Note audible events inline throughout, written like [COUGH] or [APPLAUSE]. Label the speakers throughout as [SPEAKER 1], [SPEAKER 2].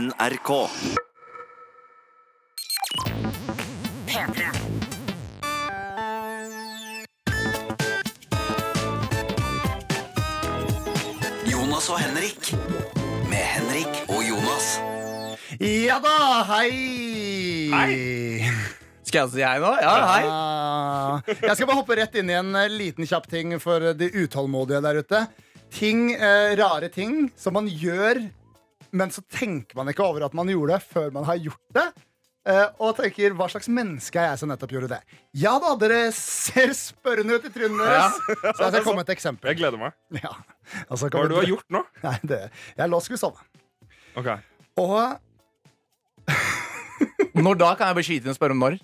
[SPEAKER 1] NRK. Jonas og Henrik. Med Henrik og Jonas.
[SPEAKER 2] Ja da, hei! Hei!
[SPEAKER 3] Skal jeg si hei nå? Ja, hei.
[SPEAKER 2] jeg skal bare hoppe rett inn i en eh, liten kjapp ting for eh, de utålmodige der ute. Ting, eh, Rare ting som man gjør, men så tenker man ikke over at man gjorde det før man har gjort det. eh, og tenker 'hva slags menneske er jeg som nettopp gjorde det'? Ja da, dere ser spørrende ut i trynet deres. Så jeg skal komme med et
[SPEAKER 4] Jeg
[SPEAKER 2] eksempel.
[SPEAKER 4] gleder meg.
[SPEAKER 2] Ja. Altså,
[SPEAKER 4] Hva
[SPEAKER 2] kan
[SPEAKER 4] er det du har gjort nå?
[SPEAKER 2] Nei, det, jeg lå og skulle sove.
[SPEAKER 4] Ok.
[SPEAKER 2] Og
[SPEAKER 3] Når da? Kan jeg bare skyte inn og spørre om når?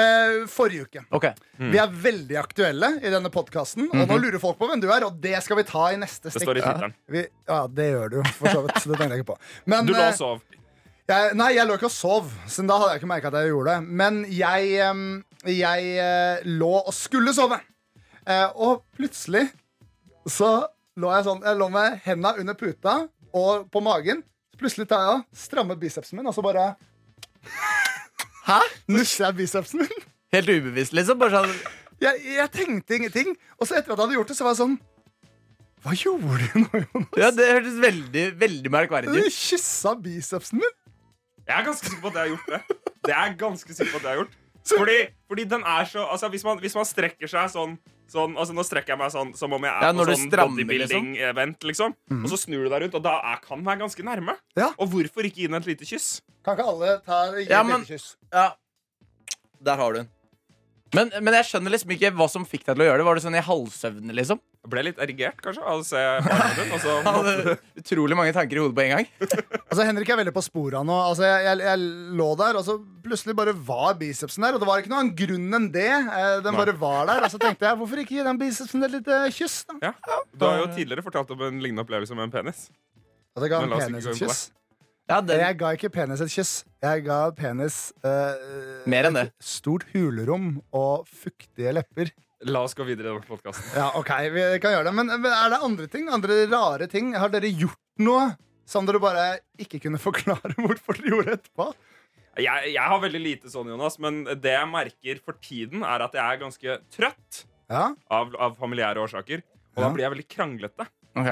[SPEAKER 2] eh, forrige uke
[SPEAKER 3] Ok,
[SPEAKER 4] Mm.
[SPEAKER 2] Vi er veldig aktuelle i denne podkasten, og nå lurer folk på hvem du er, og det skal vi ta i neste
[SPEAKER 4] Mhm. Det
[SPEAKER 2] stikk.
[SPEAKER 4] står i tittelen.
[SPEAKER 2] Vi, ja, det gjør du, for så vidt. så Det tenker jeg ikke på. Men,
[SPEAKER 4] Du lå
[SPEAKER 2] eh,
[SPEAKER 4] og sov.
[SPEAKER 2] jeg, nei, jeg lå ikke og sov, så da hadde jeg ikke merka at jeg gjorde det. Men jeg, em, jeg eh, lå og skulle sove, Eh, og plutselig så lå jeg sånn Jeg lå med henda under puta og på magen. Så plutselig tar jeg og strammer bicepsen min, og så bare
[SPEAKER 4] [LAUGHS]
[SPEAKER 2] Hæ? Nusser jeg bicepsen min?
[SPEAKER 3] Helt ubevisst, liksom. Bare sånn
[SPEAKER 2] jeg, jeg tenkte ingenting. Og så etter at jeg hadde gjort det, så var jeg sånn Hva gjorde du nå, Jonas?
[SPEAKER 3] Ja, Det hørtes veldig veldig merkverdig
[SPEAKER 2] Du
[SPEAKER 3] ut.
[SPEAKER 2] kyssa bicepsen min.
[SPEAKER 4] Jeg er ganske sikker på at jeg har gjort det. Det er jeg ganske sikker på at jeg har gjort. Fordi, fordi den er så Altså, hvis man, hvis man strekker seg sånn Sånn, altså Nå strekker jeg meg sånn som om jeg er
[SPEAKER 3] Ja,
[SPEAKER 4] på
[SPEAKER 3] når du
[SPEAKER 4] sånn
[SPEAKER 3] strammer, Mhm.
[SPEAKER 4] bodybuilding-event. liksom Og så snur du deg rundt, og da er, kan den være ganske nærme.
[SPEAKER 2] Ja.
[SPEAKER 4] Og hvorfor ikke gi den et lite kyss?
[SPEAKER 2] Kan ikke alle ta gi
[SPEAKER 3] Ja,
[SPEAKER 2] et
[SPEAKER 3] men-
[SPEAKER 2] lite kyss?
[SPEAKER 3] Ja, Der har du den. Men, men jeg skjønner liksom ikke hva som fikk deg til å gjøre det. Var det sånn i halvsøvne, liksom?
[SPEAKER 4] Jeg ble litt erigert, kanskje, av
[SPEAKER 3] [LAUGHS]
[SPEAKER 4] å se barnet din. Og så
[SPEAKER 3] Jeg Hadde utrolig mange tanker i hodet på en gang.
[SPEAKER 2] Altså, Henrik er veldig på sporet nå. Altså, jeg, jeg, jeg lå der, og så plutselig bare var bicepsen der. Og det var ikke noen annen grunn enn det. Eh, Den
[SPEAKER 4] Nei.
[SPEAKER 2] bare var der. Og så tenkte jeg, hvorfor ikke gi den bicepsen et lite kyss? da?
[SPEAKER 4] ja. Du har jo tidligere fortalt om en lignende opplevelse med en penis.
[SPEAKER 2] Og så ga han
[SPEAKER 4] Men la oss ikke
[SPEAKER 2] penis
[SPEAKER 4] gå
[SPEAKER 2] et
[SPEAKER 4] inn på
[SPEAKER 2] kyss.
[SPEAKER 3] Ja, den,
[SPEAKER 2] Jeg ga ikke penis et kyss. Jeg ga penis eh,
[SPEAKER 3] Mer enn det.
[SPEAKER 2] et Stort hulrom og fuktige lepper.
[SPEAKER 4] La oss gå videre i denne podkasten.
[SPEAKER 2] Ja, ok, vi kan gjøre det Men men er det andre ting? Andre rare ting? Har dere gjort noe som dere bare ikke kunne forklare [LAUGHS] hvorfor dere gjorde etterpå?
[SPEAKER 4] Jeg, jeg har veldig lite sånn, Jonas, men det jeg merker for tiden, er at jeg er ganske trøtt
[SPEAKER 2] Ja,
[SPEAKER 4] av, av familiære årsaker. Og
[SPEAKER 2] Ja.
[SPEAKER 4] da blir jeg veldig kranglete.
[SPEAKER 3] Ok.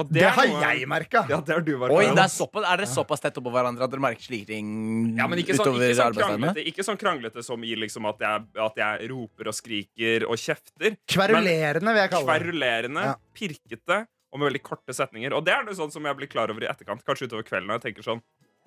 [SPEAKER 4] Og
[SPEAKER 2] Det,
[SPEAKER 4] er
[SPEAKER 2] har
[SPEAKER 4] noe-
[SPEAKER 2] jeg merka.
[SPEAKER 4] Ja, det har du vært
[SPEAKER 3] Oi,
[SPEAKER 4] med
[SPEAKER 3] det
[SPEAKER 4] om.
[SPEAKER 3] er, sånn såpass, er dere såpass tett oppå hverandre at dere merker slike ting
[SPEAKER 4] ja, men ikke sånn,
[SPEAKER 3] utover
[SPEAKER 4] ikke, sånn
[SPEAKER 3] arbeidsevne?
[SPEAKER 4] kranglete, ikke sånn kranglete som i liksom at jeg, at jeg roper og skriker og kjefter.
[SPEAKER 2] Kverulerende, vil jeg kalle det.
[SPEAKER 4] Kverulerende,
[SPEAKER 2] Ja.
[SPEAKER 4] pirkete og med veldig korte setninger. Og det er det sånn som jeg blir klar over i etterkant, kanskje utover kvelden. når jeg tenker sånn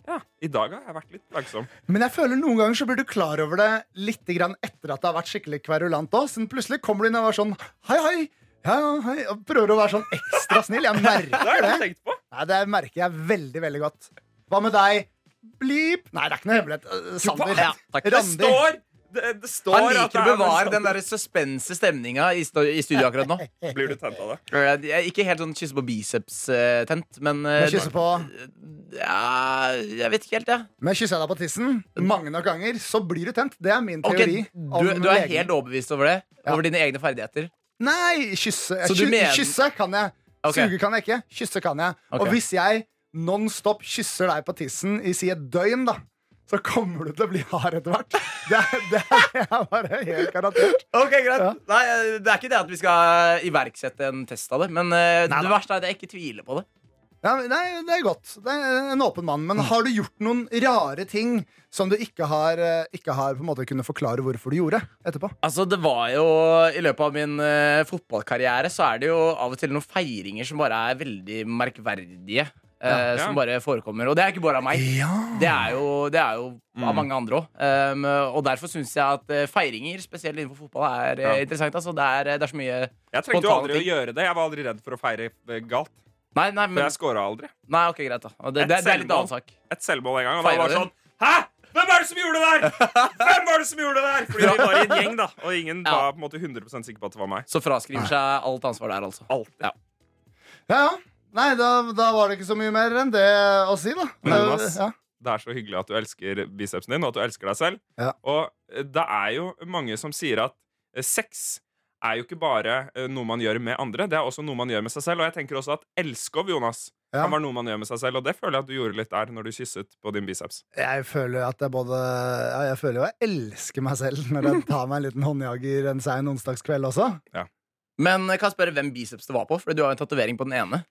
[SPEAKER 4] ja, i dag har jeg vært litt plagsom.
[SPEAKER 2] Men jeg føler noen ganger så blir du klar over det litt grann etter at det har vært skikkelig kverulant òg. Så plutselig kommer du inn og er sånn hei, hei. Ja, ja, hei. Og prøver å være sånn ekstra snill. Jeg
[SPEAKER 4] [LAUGHS] Det har
[SPEAKER 2] merker
[SPEAKER 4] jeg
[SPEAKER 2] det.
[SPEAKER 4] ikke tenkt på.
[SPEAKER 2] Nei, det merker jeg veldig, veldig godt. Hva med deg? Blip. Nei, det er ikke noe hemmelighet. Eh, Sander.
[SPEAKER 3] Ja, takk.
[SPEAKER 4] Det
[SPEAKER 2] Randi.
[SPEAKER 4] står, det, det står
[SPEAKER 3] Han
[SPEAKER 4] at
[SPEAKER 3] liker
[SPEAKER 4] det
[SPEAKER 3] å
[SPEAKER 4] er en
[SPEAKER 3] bevare
[SPEAKER 4] sånn-
[SPEAKER 3] den der suspense stemninga i, sto- i studio akkurat
[SPEAKER 4] [LAUGHS]
[SPEAKER 3] nå.
[SPEAKER 4] Blir du tent av det?
[SPEAKER 3] Jeg er ikke helt sånn kysse på biceps-tent, men eh,
[SPEAKER 2] Men kysse på
[SPEAKER 3] ja, Jeg vet ikke helt, jeg.
[SPEAKER 2] Men kysser jeg deg på tissen mange nok ganger, så blir du tent. Det er min
[SPEAKER 3] Ok,
[SPEAKER 2] teori.
[SPEAKER 3] du,
[SPEAKER 2] om
[SPEAKER 3] du er
[SPEAKER 2] legene.
[SPEAKER 3] helt overbevist over det?
[SPEAKER 2] Ja.
[SPEAKER 3] Over dine egne ferdigheter?
[SPEAKER 2] Nei, kysse.
[SPEAKER 3] Så du
[SPEAKER 2] Ky-
[SPEAKER 3] mener-
[SPEAKER 2] kysse kan jeg.
[SPEAKER 3] Ok.
[SPEAKER 2] Suge kan jeg ikke. Kysse kan jeg.
[SPEAKER 3] Ok.
[SPEAKER 2] Og hvis jeg nonstop kysser deg på tissen i si et døgn, da så kommer du til å bli hard etter hvert. [LAUGHS] Det, er- det er bare helt garantert.
[SPEAKER 3] Ok, greit
[SPEAKER 2] Ja.
[SPEAKER 3] Nei, eh, Det er ikke det at vi skal iverksette en test av det, men eh, det verste er at jeg ikke tviler på det.
[SPEAKER 2] Ja, men nei, det er godt. Det er en åpen mann. Men har du gjort noen rare ting som du ikke har, eh, ikke har på en måte kunnet forklare hvorfor du gjorde etterpå?
[SPEAKER 3] Altså, det var jo I løpet av min eh, fotballkarriere så er det jo av og til noen feiringer som bare er veldig merkverdige. eh,
[SPEAKER 4] Ja.
[SPEAKER 3] Som bare forekommer. Og det er ikke bare av meg.
[SPEAKER 2] Ja.
[SPEAKER 3] Det er jo, det er jo
[SPEAKER 2] Mm.
[SPEAKER 3] av mange andre òg. Um, og derfor syns jeg at eh, feiringer, spesielt innenfor fotball, er eh,
[SPEAKER 4] Ja.
[SPEAKER 3] interessant. Altså. Det, er, det er så mye
[SPEAKER 4] Jeg trengte jo
[SPEAKER 3] Spontane
[SPEAKER 4] aldri å
[SPEAKER 3] ting.
[SPEAKER 4] gjøre det. Jeg var aldri redd for å feire eh, galt.
[SPEAKER 3] Nei, nei,
[SPEAKER 4] For
[SPEAKER 3] men,
[SPEAKER 4] jeg scora aldri.
[SPEAKER 3] nei ok, greit, da. Og Det, det, det er litt annen sak.
[SPEAKER 4] Et selvmål en gang. Og da
[SPEAKER 3] Feira
[SPEAKER 4] var det sånn Hæ?! Hvem er det som gjorde det der?! Hvem var det som gjorde det der?! Fordi vi var i en gjeng, da. Og ingen
[SPEAKER 3] Ja.
[SPEAKER 4] var på en måte 100 sikker på at det var meg.
[SPEAKER 3] Så fraskriver seg alt ansvar der, altså.
[SPEAKER 4] Alltid.
[SPEAKER 3] Ja.
[SPEAKER 2] Ja, ja. Nei, da, da var det ikke så mye mer enn det å si, da.
[SPEAKER 4] Men Jonas,
[SPEAKER 2] ja.
[SPEAKER 4] Det er så hyggelig at du elsker bicepsen din, og at du elsker deg selv.
[SPEAKER 2] Ja.
[SPEAKER 4] Og eh, det er jo mange som sier at eh, sex er jo ikke bare eh, noe man gjør med andre, det er også noe man gjør med seg selv. Og jeg tenker også at elskov, Jonas,
[SPEAKER 2] Ja.
[SPEAKER 4] kan være noe man gjør med seg selv. Og det føler jeg at du gjorde litt der når du kysset på din biceps.
[SPEAKER 2] Jeg føler at jeg både ja, Jeg føler jo jeg elsker meg selv når jeg tar meg en liten håndjager en sein onsdagskveld også.
[SPEAKER 3] Men jeg kan spørre hvem biceps det var på, for du har jo en tatovering på den ene.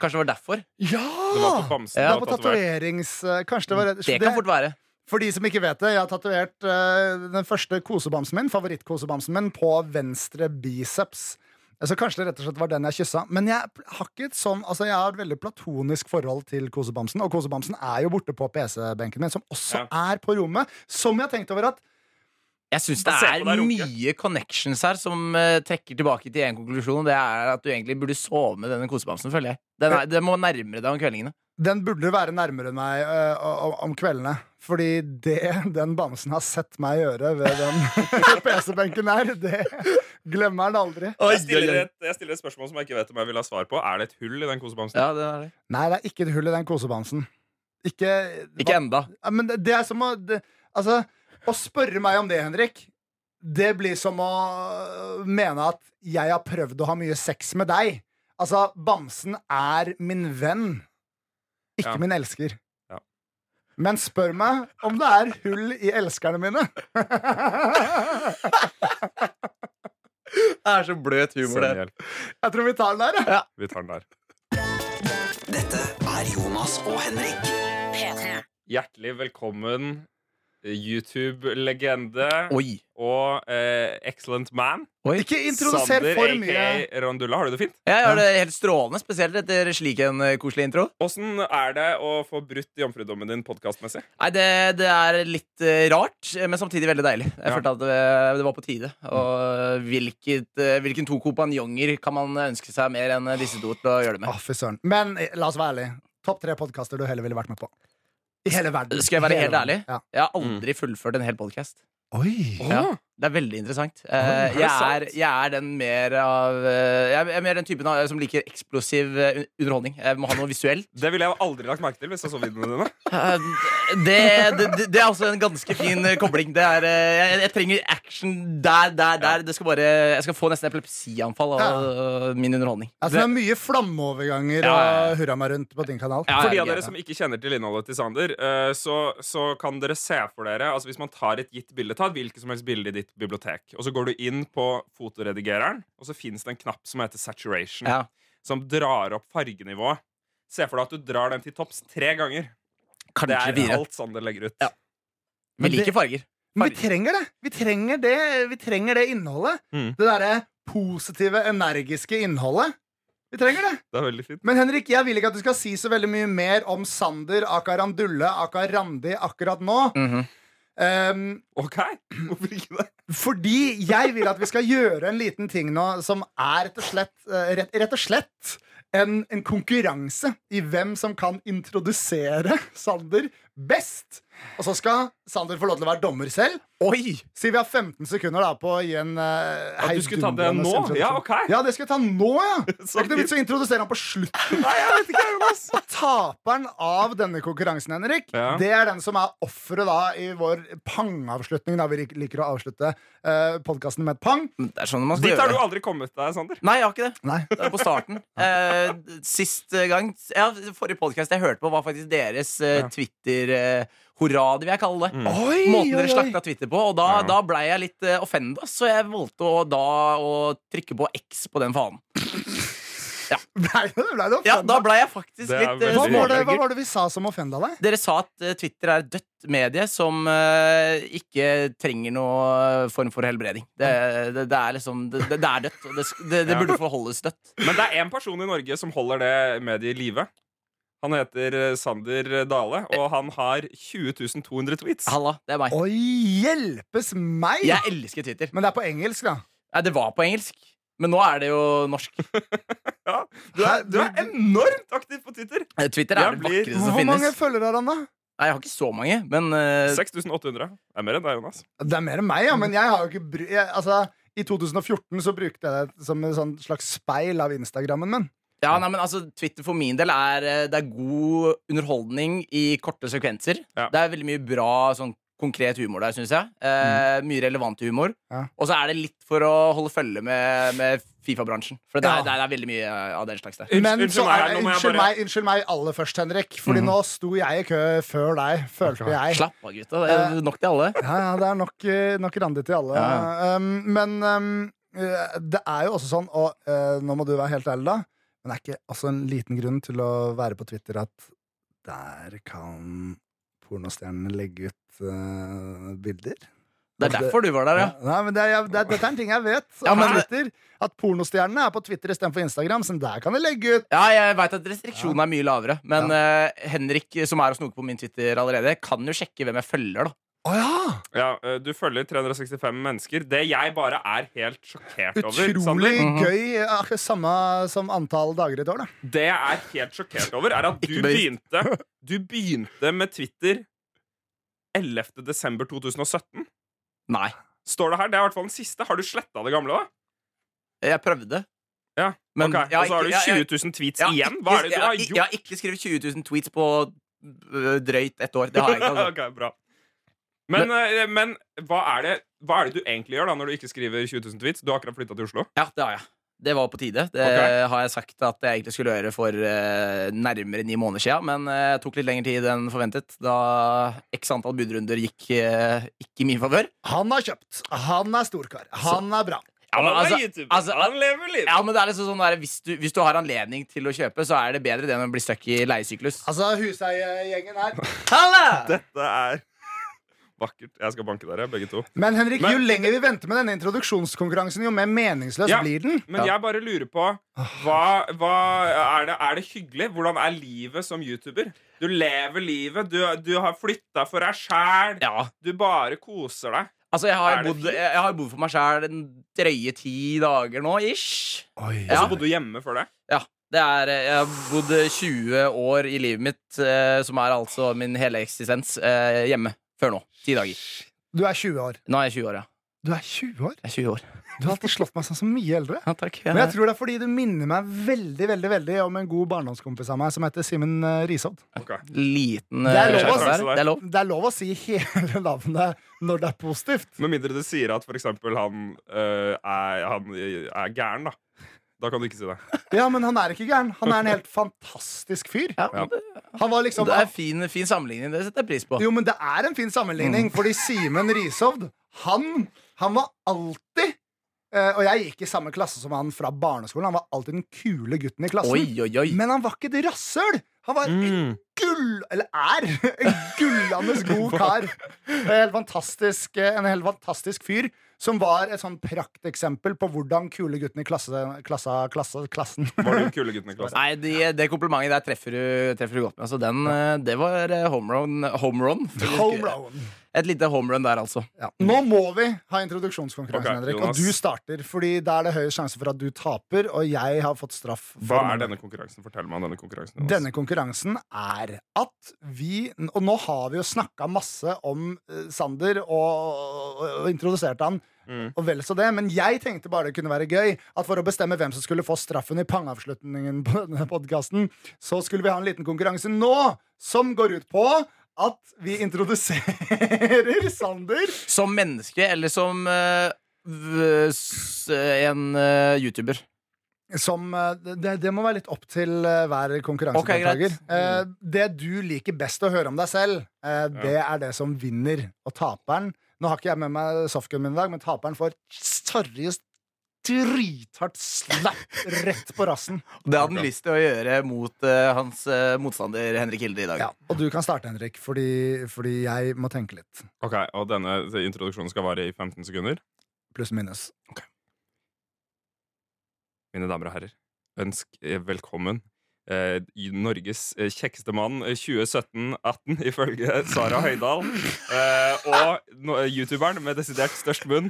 [SPEAKER 3] Kanskje det var derfor?
[SPEAKER 2] Ja!
[SPEAKER 4] Det var på bamsen.
[SPEAKER 2] Det
[SPEAKER 3] Ja,
[SPEAKER 2] var på tatoverings... Kanskje det var
[SPEAKER 3] Det kan fort være.
[SPEAKER 2] For de som ikke vet det, jeg har tatovert eh, den første kosebamsen min, favorittkosebamsen min, på venstre biceps. Så kanskje det rett og slett var den jeg kyssa. Men jeg pl- har ikke et sånn Altså jeg har et veldig platonisk forhold til kosebamsen, og kosebamsen er jo borte på PC-benken min, som også er på rommet. Som jeg har tenkt over at
[SPEAKER 3] Jeg syns det
[SPEAKER 4] Bare se
[SPEAKER 3] er
[SPEAKER 4] på deg runke.
[SPEAKER 3] mye connections her som eh, trekker tilbake til én konklusjon. og Det er at du egentlig burde sove med denne kosebamsen, føler jeg. Den, er, den må nærmere deg om kveldingene.
[SPEAKER 2] den burde være nærmere meg eh, o- om kveldene. Fordi det den bamsen har sett meg gjøre ved den [LAUGHS] PC-benken her, det glemmer han aldri.
[SPEAKER 4] Jeg stiller, et, jeg stiller et spørsmål som jeg ikke vet om jeg vil ha svar på. Er det et hull i den kosebamsen?
[SPEAKER 3] Ja, det er det.
[SPEAKER 2] Nei, det er ikke et hull i den kosebamsen. Ikke,
[SPEAKER 3] Ikke enda.
[SPEAKER 2] Ja, men det, det er som å det, Altså, å spørre meg om det, Henrik Det blir som å øh, mene at jeg har prøvd å ha mye sex med deg. Altså, bamsen er min venn, ikke
[SPEAKER 4] Ja.
[SPEAKER 2] min elsker.
[SPEAKER 4] Ja.
[SPEAKER 2] Men spør meg om det er hull i elskerne mine. jeg
[SPEAKER 3] Det er så bløt
[SPEAKER 4] Send hjelp.
[SPEAKER 2] tror vi tar den der. jeg.
[SPEAKER 4] Vi tar den der.
[SPEAKER 1] Dette er Jonas og Henrik.
[SPEAKER 4] Hjertelig velkommen, eh, YouTube-legende
[SPEAKER 3] Oi.
[SPEAKER 4] og eh, excellent man.
[SPEAKER 3] Oi.
[SPEAKER 2] Ikke introduser for mye.
[SPEAKER 4] aka Rondulla. Har du det fint?
[SPEAKER 3] Jeg gjør det helt strålende, spesielt etter slik en eh, koselig intro.
[SPEAKER 4] Åssen er det å få brutt jomfrudommen din podkastmessig?
[SPEAKER 3] Nei, det, det er litt eh, rart, men samtidig veldig deilig. Jeg
[SPEAKER 4] Ja.
[SPEAKER 3] følte at det, det var på tide. Og hvilket, eh, hvilken to kompanjonger kan man ønske seg mer enn disse to til å gjøre det med?
[SPEAKER 2] Å, fy søren. Men eh, la oss være ærlig. Topp tre podkaster du heller ville vært med på. I hele verden.
[SPEAKER 3] Skal jeg være
[SPEAKER 2] Hele
[SPEAKER 3] helt
[SPEAKER 2] verden.
[SPEAKER 3] ærlig? Jeg har
[SPEAKER 4] Mm.
[SPEAKER 3] aldri fullført en hel podkast.
[SPEAKER 2] Ja. Oi.
[SPEAKER 3] Ja. Det er veldig interessant. Eh,
[SPEAKER 4] er det
[SPEAKER 3] jeg,
[SPEAKER 4] sant?
[SPEAKER 3] er, jeg er den mer av eh, Jeg er mer den typen av, som liker eksplosiv eh, un- underholdning. Jeg må ha noe visuelt.
[SPEAKER 4] Det ville jeg aldri lagt merke til hvis jeg så videoene dine.
[SPEAKER 3] Eh, det, det, det- det er også en ganske fin eh, kobling. Det er, eh, jeg, jeg trenger action der, der, der. Det skal bare, jeg skal få nesten epilepsianfall av eh, min underholdning.
[SPEAKER 2] Altså, det er mye flammeoverganger
[SPEAKER 3] Ja, ja, ja.
[SPEAKER 2] og hurra meg rundt på din kanal.
[SPEAKER 3] Ah, Ja,
[SPEAKER 4] For de
[SPEAKER 3] ja,
[SPEAKER 4] av
[SPEAKER 3] ja.
[SPEAKER 4] dere som ikke kjenner til innholdet til Sander, eh, så, så kan dere se for dere Altså Hvis man tar et gitt bilde, ta et hvilket som helst bilde i ditt bibliotek, og så går du inn på fotoredigereren, og så fins det en knapp som heter saturation,
[SPEAKER 3] Ja.
[SPEAKER 4] som drar opp fargenivået. Se for deg at du drar den til topps tre ganger. Det
[SPEAKER 3] Kanskje
[SPEAKER 4] er
[SPEAKER 3] fire.
[SPEAKER 4] alt Sander legger ut.
[SPEAKER 3] Ja. Vi liker farger.
[SPEAKER 2] Men vi trenger det! Vi trenger det, vi trenger det innholdet.
[SPEAKER 4] Mm.
[SPEAKER 2] Det derre positive, energiske innholdet. Vi trenger det.
[SPEAKER 4] Det er veldig fint.
[SPEAKER 2] Men Henrik, jeg vil ikke at du skal si så veldig mye mer om Sander, aka Randulle, aka Randi akkurat nå.
[SPEAKER 3] Mhm.
[SPEAKER 2] Um,
[SPEAKER 4] OK, hvorfor ikke
[SPEAKER 3] [LAUGHS]
[SPEAKER 4] det?
[SPEAKER 2] Fordi jeg vil at vi skal gjøre en liten ting nå som er rett og slett, eh, rett, rett og slett en, en konkurranse i hvem som kan introdusere Sander best. Og så skal Sander få lov til å være dommer selv.
[SPEAKER 3] Oi!
[SPEAKER 2] Si vi har 15 sekunder da på å gi en uh,
[SPEAKER 4] At du skulle ta det nå? Ja, ok.
[SPEAKER 2] Ja, det skal jeg ta nå,
[SPEAKER 4] [LAUGHS]
[SPEAKER 2] ja. Det
[SPEAKER 4] Så
[SPEAKER 2] er ikke noe vits å introdusere ham på slutten.
[SPEAKER 4] Nei, jeg vet ikke, Jonas.
[SPEAKER 2] Taperen av denne konkurransen, Henrik,
[SPEAKER 4] Ja.
[SPEAKER 2] det er den som er offeret da i vår pangavslutning, da vi lik- liker å avslutte uh, podkasten med et pang.
[SPEAKER 3] Det er sånn man skal
[SPEAKER 4] Dit har
[SPEAKER 3] gjøre
[SPEAKER 4] du
[SPEAKER 3] det.
[SPEAKER 4] aldri kommet deg, Sander.
[SPEAKER 3] Nei, jeg har ikke det.
[SPEAKER 2] Nei.
[SPEAKER 3] Det er på starten. Eh, sist gang ja, Forrige podkast jeg hørte på, var faktisk deres eh,
[SPEAKER 4] Ja.
[SPEAKER 3] Twitter-hurra, det vil jeg kalle det.
[SPEAKER 2] Mm. Oi,
[SPEAKER 3] Måten
[SPEAKER 2] oi,
[SPEAKER 3] dere
[SPEAKER 2] oi. [LAUGHS]
[SPEAKER 3] slakta Twitter på. Og da,
[SPEAKER 4] Ja.
[SPEAKER 3] da blei jeg litt uh, offenda, så jeg valgte å, da å trykke på X på den fanen.
[SPEAKER 2] Blei det, blei det
[SPEAKER 3] Ja, da
[SPEAKER 2] offenda?
[SPEAKER 3] blei jeg faktisk
[SPEAKER 4] Det er
[SPEAKER 3] litt eh,
[SPEAKER 2] hva,
[SPEAKER 4] veldig-
[SPEAKER 2] var det, hva
[SPEAKER 3] småbløgger.
[SPEAKER 2] var det vi sa som offenda deg?
[SPEAKER 3] Dere sa at eh, Twitter er et dødt medie som eh, ikke trenger noe form for helbreding. Det, det, det er liksom Det, det er dødt, og det, det, det
[SPEAKER 4] Ja.
[SPEAKER 3] burde forholdes dødt.
[SPEAKER 4] Men det er én person i Norge som holder det mediet i live. Han heter eh, Sander Dale, og han har 20.200 tweets.
[SPEAKER 3] Halla, det er meg.
[SPEAKER 2] Å, hjelpes meg!
[SPEAKER 3] Jeg elsker Twitter.
[SPEAKER 2] Men det er på engelsk, da.
[SPEAKER 3] Nei, det var på engelsk. Men nå er det jo norsk.
[SPEAKER 4] Ja, du, er, du er enormt aktiv på Twitter!
[SPEAKER 3] Eh, Twitter er
[SPEAKER 4] Jeg
[SPEAKER 3] det
[SPEAKER 4] blir-
[SPEAKER 3] vakreste som
[SPEAKER 2] Hvor
[SPEAKER 3] finnes.
[SPEAKER 2] mange følgere har han, da?
[SPEAKER 3] Nei, jeg har ikke så mange, men eh,
[SPEAKER 4] 6800. Det er mer enn deg, Jonas.
[SPEAKER 2] Det er mer enn meg, ja, men jeg har jo ikke bry... Jeg, altså, i 2014 så brukte jeg det som en sånn slags speil av Instagrammen min.
[SPEAKER 3] ja, nei, men altså, Twitter for min del er eh, Det er god underholdning i korte sekvenser.
[SPEAKER 4] Ja.
[SPEAKER 3] Det er veldig mye bra sånn konkret humor der, syns jeg. Eh,
[SPEAKER 4] Mm.
[SPEAKER 3] Mye relevant humor.
[SPEAKER 2] Ja.
[SPEAKER 3] Og så er det litt for å holde følge med, med Fifa-bransjen. For det
[SPEAKER 2] Ja.
[SPEAKER 3] er, det, er, det er veldig mye eh, av den slags der.
[SPEAKER 4] Unnskyld-
[SPEAKER 2] Men
[SPEAKER 4] unnskyld
[SPEAKER 2] så
[SPEAKER 4] meg,
[SPEAKER 2] er,
[SPEAKER 4] nå må jeg
[SPEAKER 2] unnskyld,
[SPEAKER 4] bare-
[SPEAKER 2] meg, unnskyld meg aller først, Henrik. Fordi nå sto jeg i kø før deg, følte jeg.
[SPEAKER 3] Slapp av, gutta. Det
[SPEAKER 4] Eh.
[SPEAKER 3] er nok til alle.
[SPEAKER 2] Ja, ja, det er nok, eh, nok randi til alle. Um, men um, eh, det er jo også sånn, og eh, nå må du være helt ærlig, da, men det er ikke altså, en liten grunn til å være på Twitter at der kan pornostjernene legge ut eh, bilder.
[SPEAKER 4] Altså,
[SPEAKER 3] Det er derfor du var der, ja.
[SPEAKER 2] Nei, men det er, jeg- det, er- dette er en ting jeg vet.
[SPEAKER 3] Ja,
[SPEAKER 2] om
[SPEAKER 3] men-
[SPEAKER 2] Twitter, at pornostjernene er på Twitter istedenfor Instagram, så der kan de legge ut.
[SPEAKER 3] Ja, jeg veit at restriksjonene er mye lavere, men eh, Henrik, som er og snoker på min Twitter allerede, kan jo sjekke hvem jeg følger, da.
[SPEAKER 2] Å ja!
[SPEAKER 4] Ja, eh, du følger 365 mennesker. Det jeg bare er helt sjokkert over, Sander,
[SPEAKER 2] Utrolig gøy. Akkurat samme som antall dager i et år, da.
[SPEAKER 4] det jeg er helt sjokkert over, er at du
[SPEAKER 3] Ikke bevisst.
[SPEAKER 4] begynte, du begynte med Twitter 11. desember 2017.
[SPEAKER 3] Nei.
[SPEAKER 4] Står det her? Det er i hvert fall den siste. Har du sletta det gamle, da?
[SPEAKER 3] Jeg prøvde.
[SPEAKER 4] Ja,
[SPEAKER 3] Men-
[SPEAKER 4] ok.
[SPEAKER 3] Um, ja,
[SPEAKER 4] Og så har du
[SPEAKER 3] ikke- ja, ja.
[SPEAKER 4] 20 000 tweets
[SPEAKER 3] Jeg har
[SPEAKER 4] igjen?
[SPEAKER 3] ikke-
[SPEAKER 4] Hva er det
[SPEAKER 3] jeg,
[SPEAKER 4] du har
[SPEAKER 3] ikke-
[SPEAKER 4] gjort?
[SPEAKER 3] Jeg har ikke skrevet 20 000 tweets på øh, drøyt et år. Det har jeg ikke. Altså.
[SPEAKER 4] [LAUGHS] Ok, bra. Men, eh, men hva, er det, hva er det du egentlig gjør da når du ikke skriver 20 000 tweets? Du har akkurat flytta til Oslo.
[SPEAKER 3] Ja, det har jeg. Det var på tide. Det
[SPEAKER 4] Ok.
[SPEAKER 3] har jeg sagt at jeg egentlig skulle gjøre for øh, nærmere ni måneder siden, men øh, tok litt lengre tid enn forventet da x antall budrunder gikk øh, ikke i min favør.
[SPEAKER 2] Han har kjøpt. Han er storkar. Han er bra.
[SPEAKER 3] Ja, men altså-
[SPEAKER 4] YouTuber.
[SPEAKER 3] altså-
[SPEAKER 4] lever livet.
[SPEAKER 3] Ja, men det er liksom sånn der, hvis, du, hvis du har anledning til å kjøpe, så er det bedre det enn å bli stuck i leiesyklus.
[SPEAKER 2] Altså, huseiegjengen her.
[SPEAKER 3] Halla!
[SPEAKER 4] Dette er [LAUGHS] vakkert. Jeg skal banke dere, begge to.
[SPEAKER 2] Men Henrik,
[SPEAKER 4] Men-
[SPEAKER 2] jo lenger vi venter med denne introduksjonskonkurransen, jo mer meningsløs
[SPEAKER 4] Ja.
[SPEAKER 2] blir den.
[SPEAKER 4] Men jeg bare lurer på hva, hva er, det, er det hyggelig? Hvordan er livet som YouTuber? Du lever livet. Du, du har flytta for deg sjæl.
[SPEAKER 3] Ja,
[SPEAKER 4] Du bare koser deg.
[SPEAKER 3] altså jeg har
[SPEAKER 4] Er det
[SPEAKER 3] bodd,
[SPEAKER 4] fint?
[SPEAKER 3] jeg, jeg har bodd for meg sjæl en drøye ti dager nå, ish.
[SPEAKER 2] Oi.
[SPEAKER 4] Og så
[SPEAKER 3] Ja.
[SPEAKER 4] bodde du hjemme før det.
[SPEAKER 3] Ja. Det er, eh, jeg har bodd 20 år i livet mitt, eh, som er altså min hele eksistens, eh, hjemme. Før nå. Ti dager.
[SPEAKER 2] Du er 20 år.
[SPEAKER 3] Nå er jeg 20 år, ja.
[SPEAKER 2] Du er 20 år?
[SPEAKER 3] Jeg er 20 år.
[SPEAKER 2] Du har alltid slått meg sånn som mye eldre.
[SPEAKER 3] Ja, takk.
[SPEAKER 2] Men jeg tror det er fordi du minner meg veldig veldig, veldig om en god barndomskompis av meg som heter Simen eh, Risodd.
[SPEAKER 4] Ok.
[SPEAKER 3] Liten eh,
[SPEAKER 2] Det er lov, altså.
[SPEAKER 3] sjanse
[SPEAKER 4] ass.
[SPEAKER 3] der. Det er lov.
[SPEAKER 2] Det er lov å si hele navnet når det er positivt.
[SPEAKER 4] Med mindre du sier at for eksempel han, øh, er, han er gæren, da. Da kan du ikke si det.
[SPEAKER 2] Ja, men han er ikke gæren. Han er en helt fantastisk fyr.
[SPEAKER 3] Ja,
[SPEAKER 4] Ja.
[SPEAKER 3] det-
[SPEAKER 2] Han var liksom
[SPEAKER 3] Det er fin, fin sammenligning. Det setter jeg pris på.
[SPEAKER 2] Jo, men det er en fin sammenligning, fordi Simen Rishovd, han, han var alltid eh, Og jeg gikk i samme klasse som han fra barneskolen. Han var alltid den kule gutten i klassen.
[SPEAKER 3] Oi, oi, oi.
[SPEAKER 2] altså, Men han var ikke et rasshøl! Han var en gull... Eller er [LAUGHS] en gullende god kar. En helt fantastisk, eh, en helt fantastisk fyr. Som var et sånn prakteksempel på hvordan kule gutten i klasse, klasse, klasse, klassen
[SPEAKER 4] Var du kulegutten i klassen?
[SPEAKER 3] Nei, de, Det komplimentet der treffer du, treffer du godt med. Altså, den, eh, det var eh, home run. Home run. eh,
[SPEAKER 2] Home run.
[SPEAKER 3] Et lite home run der, altså.
[SPEAKER 2] Ja. Nå må vi ha introduksjonskonkurransen,
[SPEAKER 4] Ok,
[SPEAKER 2] Henrik.
[SPEAKER 4] Jonas.
[SPEAKER 2] Og du starter, fordi da er det høy sjanse for at du taper, og jeg har fått straff. for
[SPEAKER 4] Hva
[SPEAKER 2] mandag.
[SPEAKER 4] er denne konkurransen? Fortell meg om denne konkurransen. Jonas.
[SPEAKER 2] Denne konkurransen er at vi Og nå har vi jo snakka masse om eh, Sander og, og, og introdusert han.
[SPEAKER 4] Mm.
[SPEAKER 2] Og vel så det, Men jeg tenkte bare det kunne være gøy at for å bestemme hvem som skulle få straffen i pangeavslutningen, på denne podcasten, så skulle vi ha en liten konkurranse nå som går ut på at vi introduserer Sander
[SPEAKER 3] Som menneske eller som eh, v- s- en eh, YouTuber.
[SPEAKER 2] som eh, det, det må være litt opp til eh, hver
[SPEAKER 3] Ok,
[SPEAKER 2] konkurransedeltaker.
[SPEAKER 3] greit. Mm.
[SPEAKER 2] Eh, det du liker best å høre om deg selv, eh, det er det som vinner. Og taperen Nå har ikke jeg med meg softgun min i dag, men taperen får seriøst drithardt slapp rett på rassen.
[SPEAKER 3] Det hadde han lyst til å gjøre mot eh, hans eh, motstander Henrik Hilde i dag.
[SPEAKER 2] Ja, og du kan starte, Henrik, fordi, fordi jeg må tenke litt.
[SPEAKER 4] Ok, Og denne introduksjonen skal vare i 15 sekunder?
[SPEAKER 2] Pluss minus.
[SPEAKER 4] Mine damer og herrer, ønsk eh, velkommen eh, i Norges eh, kjekkeste mann eh, 2017-18, ifølge Sara Høydahl. Eh, og no, eh, youtuberen med desidert størst munn,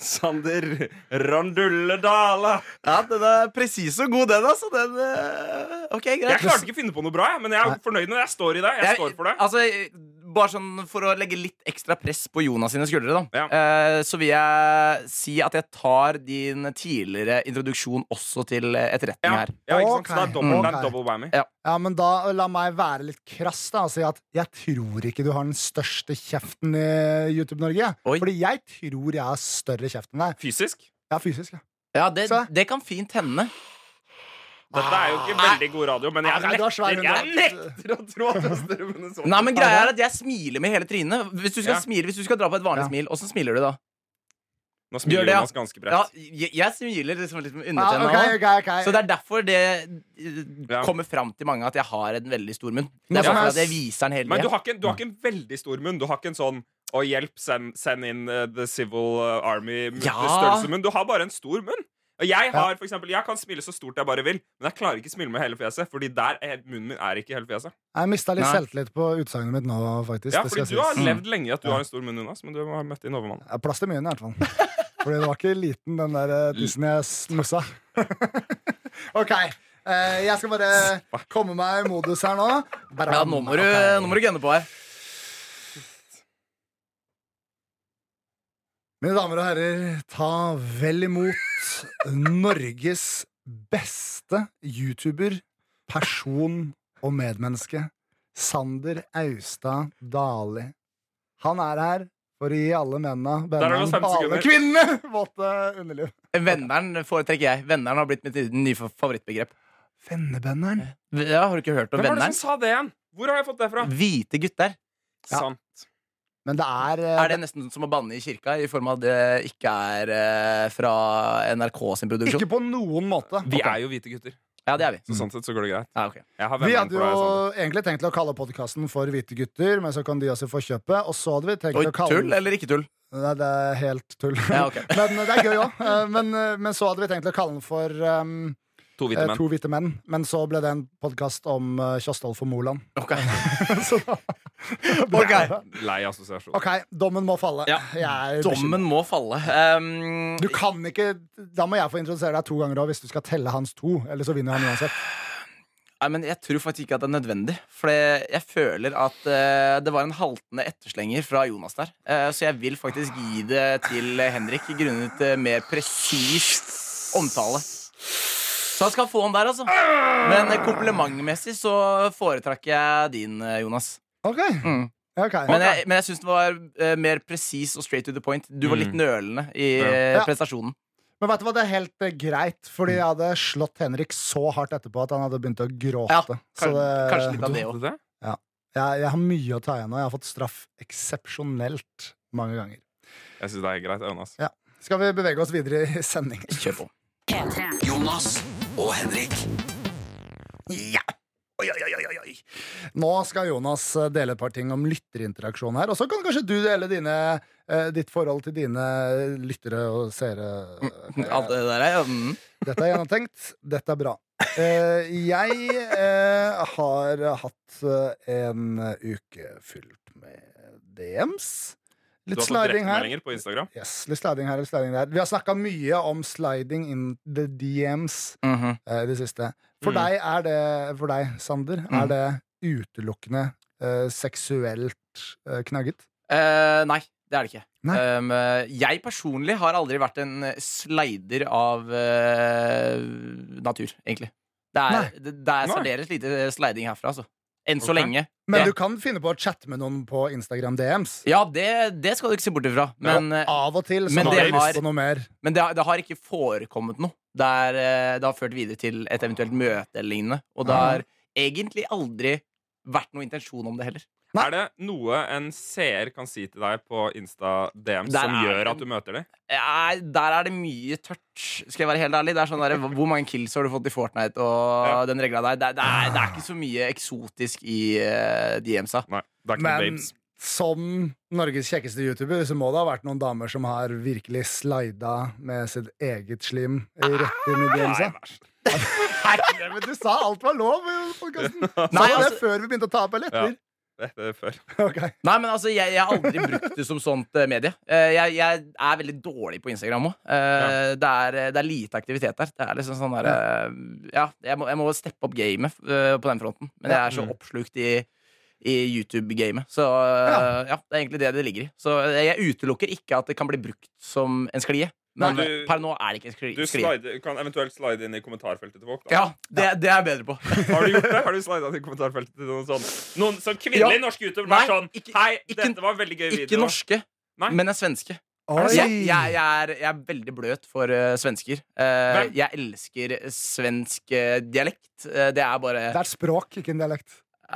[SPEAKER 4] Sander Randulle Dale.
[SPEAKER 3] Ja, Den er presis og god, den, altså. Den, eh, ok,
[SPEAKER 4] Jeg
[SPEAKER 3] greit.
[SPEAKER 4] klarte ikke å finne på noe bra, jeg, men jeg er fornøyd med det. Jeg står i det. Jeg står for det.
[SPEAKER 3] Altså, bare sånn For å legge litt ekstra press på Jonas sine skuldre, da,
[SPEAKER 4] Ja.
[SPEAKER 3] eh, så vil jeg si at jeg tar din tidligere introduksjon også til eh, etterretning
[SPEAKER 4] Ja,
[SPEAKER 3] her.
[SPEAKER 4] ja, ikke sant? Så
[SPEAKER 2] Ok.
[SPEAKER 4] det er dobbel, det er
[SPEAKER 2] Ok.
[SPEAKER 4] en double whammy.
[SPEAKER 2] Ja, men da la meg være litt krass da, og si at jeg tror ikke du har den største kjeften i YouTube-Norge.
[SPEAKER 3] Oi.
[SPEAKER 2] Fordi jeg tror jeg har større kjeft enn deg.
[SPEAKER 4] Fysisk.
[SPEAKER 2] Ja, fysisk, ja.
[SPEAKER 3] Ja, det,
[SPEAKER 2] Se.
[SPEAKER 3] det kan fint hende.
[SPEAKER 4] Dette er jo ikke veldig god radio, men jeg
[SPEAKER 2] Ah, Nei, du har svær
[SPEAKER 4] nekter, jeg
[SPEAKER 2] hund, da.
[SPEAKER 4] nekter å tro at det er større Minnesota.
[SPEAKER 3] Nei, men greia er at jeg smiler med hele trynet. Hvis du skal,
[SPEAKER 4] Ja.
[SPEAKER 3] smile, hvis du skal dra på et vanlig
[SPEAKER 2] Ja.
[SPEAKER 3] smil, åssen smiler du da?
[SPEAKER 4] Nå
[SPEAKER 3] Gjør
[SPEAKER 4] smiler
[SPEAKER 3] det, ja.
[SPEAKER 4] Jonas ganske
[SPEAKER 3] Ja,
[SPEAKER 4] bredt.
[SPEAKER 3] jeg, jeg smiler liksom litt med
[SPEAKER 2] ja
[SPEAKER 3] undertenna.
[SPEAKER 2] ok,
[SPEAKER 3] også.
[SPEAKER 2] ok, ok.
[SPEAKER 3] Så det er derfor det eh,
[SPEAKER 4] Ja.
[SPEAKER 3] kommer fram til mange at jeg har en veldig stor munn.
[SPEAKER 2] Noe
[SPEAKER 3] Det er
[SPEAKER 2] som
[SPEAKER 3] sånn
[SPEAKER 2] er
[SPEAKER 3] at jeg viser den hele
[SPEAKER 4] Men du
[SPEAKER 3] tiden.
[SPEAKER 4] har, ikke, en- du har ikke en veldig stor munn. Du har ikke en sånn 'Å, hjelp, send, send inn eh, The Civil eh,
[SPEAKER 3] Ja.
[SPEAKER 4] Army'-størrelsemunn. Du har bare en stor munn. Og jeg, har, for eksempel, jeg kan smile så stort jeg bare vil, men jeg klarer ikke smile med hele fjeset. Fordi der er, munnen min er ikke hele fjeset.
[SPEAKER 2] Jeg mista litt
[SPEAKER 3] Nei.
[SPEAKER 2] selvtillit på utsagnet mitt nå, faktisk.
[SPEAKER 4] Ja,
[SPEAKER 2] det skal
[SPEAKER 4] fordi du har
[SPEAKER 2] sies.
[SPEAKER 4] levd lenge i at du har en stor munn, Jonas, men du har møtt din overmann.
[SPEAKER 2] Ja, Plass til mye i hvert fall. Fordi det var ikke liten, den der eh, tissen jeg smussa. [LAUGHS] OK. eh, jeg skal bare komme meg i modus her nå. Bram.
[SPEAKER 3] Ja, nå må du,
[SPEAKER 2] Ok.
[SPEAKER 3] nå må du gunne på her.
[SPEAKER 2] Mine damer og herrer, ta vel imot Norges beste YouTuber, person og medmenneske, Sander Austad Dali. Han er her for å gi alle mennene,
[SPEAKER 4] har du
[SPEAKER 2] bøndene
[SPEAKER 4] fem
[SPEAKER 2] og alle
[SPEAKER 4] sekunder.
[SPEAKER 2] kvinnene våte underliv.
[SPEAKER 3] Venneren foretrekker jeg. Venneren har blitt mitt nye fa- favorittbegrep.
[SPEAKER 2] Vennebønderen.
[SPEAKER 3] Ja, har du ikke hørt om
[SPEAKER 4] Hvem var det
[SPEAKER 3] venneren?
[SPEAKER 4] som sa det igjen? Hvor har jeg fått det fra?
[SPEAKER 3] Hvite gutter.
[SPEAKER 2] Ja.
[SPEAKER 4] Sant.
[SPEAKER 2] Men det er, eh,
[SPEAKER 3] Er det nesten som å banne i kirka, i form av at det ikke er eh, fra NRK sin produksjon?
[SPEAKER 2] ikke på noen måte.
[SPEAKER 4] Vi er jo hvite gutter,
[SPEAKER 3] Ja, det er vi.
[SPEAKER 4] så sånn sett så går det greit.
[SPEAKER 3] Ja, ok.
[SPEAKER 4] Jeg har
[SPEAKER 2] Vi
[SPEAKER 4] venneren
[SPEAKER 2] hadde
[SPEAKER 4] på
[SPEAKER 2] jo
[SPEAKER 4] deg. Sander.
[SPEAKER 2] egentlig tenkt til å kalle podkasten for Hvite gutter, men så kan de også få kjøpet. Og så hadde vi tenkt
[SPEAKER 3] Oi,
[SPEAKER 2] å kalle
[SPEAKER 3] tull eller ikke tull?
[SPEAKER 2] Nei, det er helt tull.
[SPEAKER 3] Ja,
[SPEAKER 2] [LAUGHS]
[SPEAKER 3] ok.
[SPEAKER 2] men det er gøy òg. Men, eh, men så hadde vi tenkt å kalle den for ehm,
[SPEAKER 4] To hvite
[SPEAKER 2] eh,
[SPEAKER 4] menn.
[SPEAKER 2] To hvite menn. Men så ble det en podkast om eh, Kjostolf og Moland. [LAUGHS]
[SPEAKER 3] Ok.
[SPEAKER 2] Så da-
[SPEAKER 3] Ok.
[SPEAKER 4] [LAUGHS] Lei assosiasjon.
[SPEAKER 2] OK, dommen må falle.
[SPEAKER 3] Ja,
[SPEAKER 2] Jeg er bekymret.
[SPEAKER 3] Dommen må falle. Um,
[SPEAKER 2] Du kan ikke Da må jeg få introdusere deg to ganger òg, hvis du skal telle hans to. Eller så vinner han uansett.
[SPEAKER 3] Nei, men Jeg tror faktisk ikke at det er nødvendig. For det- jeg føler at eh, det var en haltende etterslenger fra Jonas der. Eh, så jeg vil faktisk gi det til Henrik, grunnet eh, mer presis omtale. Så han skal få den der, altså. Men eh, komplimentmessig så foretrakk jeg din, eh, Jonas.
[SPEAKER 2] OK.
[SPEAKER 3] Mm.
[SPEAKER 2] ok.
[SPEAKER 3] Men jeg, men jeg syns den var eh, mer presis og straight to the point. Du var litt nølende i eh,
[SPEAKER 2] Ja.
[SPEAKER 3] prestasjonen.
[SPEAKER 2] Men vet du hva, det er helt eh, greit, fordi jeg hadde slått Henrik så hardt etterpå at han hadde begynt å gråte.
[SPEAKER 3] Ja,
[SPEAKER 2] Så
[SPEAKER 3] kan- kanskje litt av
[SPEAKER 4] Du
[SPEAKER 3] det også.
[SPEAKER 4] hadde det?
[SPEAKER 2] jeg, jeg har mye å ta igjen, og jeg har fått straff eksepsjonelt mange ganger.
[SPEAKER 4] Jeg syns det er greit. Jonas.
[SPEAKER 2] Skal vi bevege oss videre i sending?
[SPEAKER 3] Kjør på.
[SPEAKER 1] Jonas og Henrik.
[SPEAKER 2] Ja! [LAUGHS] Oi, oi, oi, oi, oi. Nå skal Jonas eh, dele et par ting om lytterinteraksjon her. Og så kan kanskje du dele dine, eh, ditt forhold til dine eh, lyttere og seere.
[SPEAKER 3] Alt det der er mm.
[SPEAKER 2] Dette er gjennomtenkt. Dette er bra. Eh, jeg eh, har hatt eh, en uke fylt med DMs.
[SPEAKER 4] Du
[SPEAKER 2] Litt
[SPEAKER 4] har fått
[SPEAKER 2] sliding her.
[SPEAKER 4] direktemeldinger på Instagram.
[SPEAKER 2] Yes, litt sliding her, litt sliding der. Vi har snakka mye om sliding in the DMs
[SPEAKER 3] Mhm.
[SPEAKER 2] eh, i det siste. For
[SPEAKER 4] Mm.
[SPEAKER 2] deg, er det, for deg Sander,
[SPEAKER 3] Mm.
[SPEAKER 2] er det utelukkende eh, seksuelt eh, knagget?
[SPEAKER 3] Eh, nei, det er det ikke.
[SPEAKER 2] Nei.
[SPEAKER 3] Um, eh, jeg personlig har aldri vært en slider av eh, natur, egentlig. Det
[SPEAKER 2] Nei.
[SPEAKER 3] er, det, det er
[SPEAKER 4] Nei.
[SPEAKER 3] særdeles lite sliding herfra, altså. Enn så
[SPEAKER 4] Ok.
[SPEAKER 3] lenge.
[SPEAKER 2] Men
[SPEAKER 3] Ja.
[SPEAKER 2] du kan finne på å chatte med noen på Instagram DMs.
[SPEAKER 3] Ja, det, det skal du ikke se bort ifra. Men, eh,
[SPEAKER 2] Av og til så
[SPEAKER 3] Men
[SPEAKER 2] har
[SPEAKER 4] det
[SPEAKER 2] du lyst
[SPEAKER 3] har-
[SPEAKER 2] på noe mer.
[SPEAKER 3] men det, har- det har ikke forekommet noe. Det, er, eh, det har ført videre til et eventuelt møte eller lignende. Og det
[SPEAKER 2] Ah.
[SPEAKER 3] har egentlig aldri vært noen intensjon om det heller.
[SPEAKER 2] Nei.
[SPEAKER 4] Er det noe en seer kan si til deg på Insta-DM
[SPEAKER 3] Der
[SPEAKER 4] som
[SPEAKER 3] er
[SPEAKER 4] gjør
[SPEAKER 3] det.
[SPEAKER 4] at du møter dem?
[SPEAKER 3] Nei, der er det mye tørt, skal jeg være helt ærlig. Det er sånn der, Hvor mange kills har du fått i Fortnite? Og
[SPEAKER 4] Ja.
[SPEAKER 3] den regla der. Det, det, er, det er ikke så mye eksotisk i uh, DMs-a.
[SPEAKER 4] Nei, det er ikke noen
[SPEAKER 2] Men
[SPEAKER 4] babes.
[SPEAKER 2] som Norges kjekkeste YouTuber så må det ha vært noen damer som har virkelig slida med sitt eget slim eh, rett
[SPEAKER 3] Ah,
[SPEAKER 2] inn i DMs-a.
[SPEAKER 4] Nei, vær så-
[SPEAKER 2] [LAUGHS] Nei, men du sa alt var lov i podkasten.
[SPEAKER 3] [LAUGHS]
[SPEAKER 2] Sa
[SPEAKER 3] Nei,
[SPEAKER 2] du det
[SPEAKER 3] altså-
[SPEAKER 2] før vi begynte å ta opp, eller etter?
[SPEAKER 4] Det det er før.
[SPEAKER 2] [LAUGHS] Ok.
[SPEAKER 3] Nei, men altså, jeg, jeg har aldri brukt det som sånt eh, medie. Eh, jeg, jeg er veldig dårlig på Instagram òg. det, er, eh, det er lite aktivitet der. Det er liksom sånn der,
[SPEAKER 4] Mm.
[SPEAKER 3] eh, ja, jeg, må, jeg må steppe opp gamet eh, på den fronten. Men jeg er så oppslukt i i YouTube-gamet. Så
[SPEAKER 2] Ja.
[SPEAKER 3] eh, ja, det er egentlig det det ligger i. Så eh, jeg utelukker ikke at det kan bli brukt som en sklie. Men
[SPEAKER 4] Nei, du-
[SPEAKER 3] per nå er det ikke en skli-
[SPEAKER 4] Du
[SPEAKER 3] sklie.
[SPEAKER 4] slide, kan eventuelt slide inn i kommentarfeltet til folk. Da.
[SPEAKER 3] Ja, det, det er jeg bedre på.
[SPEAKER 4] Har du gjort det? Har du slida inn i kommentarfeltet til noen sånn Noen som kvinnelig
[SPEAKER 3] Ja.
[SPEAKER 4] norsk YouTuber
[SPEAKER 3] Nei,
[SPEAKER 4] var sånn
[SPEAKER 3] ikke-
[SPEAKER 4] Hei,
[SPEAKER 3] ikke-
[SPEAKER 4] dette var en veldig gøy video.
[SPEAKER 3] Ikke norske,
[SPEAKER 4] Nei.
[SPEAKER 3] men en svenske.
[SPEAKER 2] Oi.
[SPEAKER 3] Jeg, jeg, jeg, er, jeg er veldig bløt for eh, svensker. Eh,
[SPEAKER 4] Hvem?
[SPEAKER 3] jeg elsker svensk eh, dialekt. Eh, det er bare
[SPEAKER 2] Det er et språk, ikke en dialekt.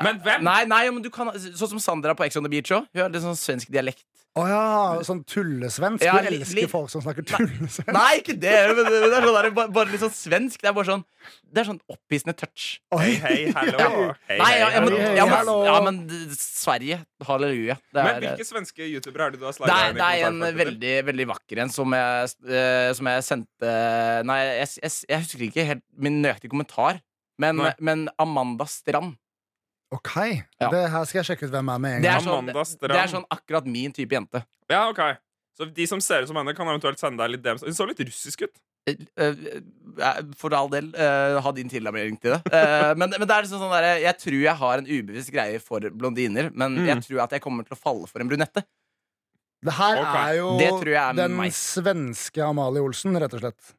[SPEAKER 4] Men hvem?
[SPEAKER 3] Nei, nei, men du kan Sånn som Sandra på Ex on the Beach òg. Hun har litt sånn svensk dialekt.
[SPEAKER 2] Å ja, sånn tullesvensk.
[SPEAKER 3] Ja,
[SPEAKER 2] du
[SPEAKER 3] li-
[SPEAKER 2] elsker
[SPEAKER 3] li-
[SPEAKER 2] folk som snakker tullesvensk.
[SPEAKER 3] Nei, ikke det! Men det, men det er sånn der, bare, bare litt sånn svensk. Det er bare sånn Det er sånn opphissende touch.
[SPEAKER 2] Oi.
[SPEAKER 4] Hei,
[SPEAKER 3] [LAUGHS]
[SPEAKER 4] hallo. Hei,
[SPEAKER 3] Nei,
[SPEAKER 4] hei,
[SPEAKER 3] ja, ja, men,
[SPEAKER 4] hallo.
[SPEAKER 2] hei,
[SPEAKER 3] ja, men,
[SPEAKER 2] hallo.
[SPEAKER 3] ja, men d- Sverige. Halleluja. Det
[SPEAKER 4] Men
[SPEAKER 3] er,
[SPEAKER 4] hvilke svenske youtubere er det du har
[SPEAKER 3] det
[SPEAKER 4] slida
[SPEAKER 3] er,
[SPEAKER 4] inn i
[SPEAKER 3] det er en eh,
[SPEAKER 4] kommentarfeltet til?
[SPEAKER 3] veldig, veldig vakker en som jeg, eh, som jeg sendte Nei, jeg, jeg, jeg husker ikke helt min nøyaktige kommentar, men,
[SPEAKER 4] Nei.
[SPEAKER 3] men Amanda Strand.
[SPEAKER 2] Ok,
[SPEAKER 3] Ja.
[SPEAKER 2] det her skal jeg sjekke ut hvem er med en
[SPEAKER 3] Det
[SPEAKER 2] gang.
[SPEAKER 3] er sånn,
[SPEAKER 4] Amanda
[SPEAKER 3] det
[SPEAKER 4] Strand.
[SPEAKER 3] er sånn akkurat min type jente.
[SPEAKER 4] Ja, ok Så de som ser ut som henne, kan eventuelt sende deg litt DMs. Hun så litt russisk ut.
[SPEAKER 3] Eh, eh, For all del, eh, ha din tilnærming til det.
[SPEAKER 4] [LAUGHS]
[SPEAKER 3] Eh, Men, men det er liksom sånn der, jeg tror jeg har en ubevisst greie for blondiner, men
[SPEAKER 4] Mm.
[SPEAKER 3] jeg tror at jeg kommer til å falle for en brunette.
[SPEAKER 2] Det her
[SPEAKER 4] Ok.
[SPEAKER 2] er jo
[SPEAKER 3] Det tror jeg er
[SPEAKER 2] den
[SPEAKER 3] meg.
[SPEAKER 2] svenske Amalie Olsen, rett og slett.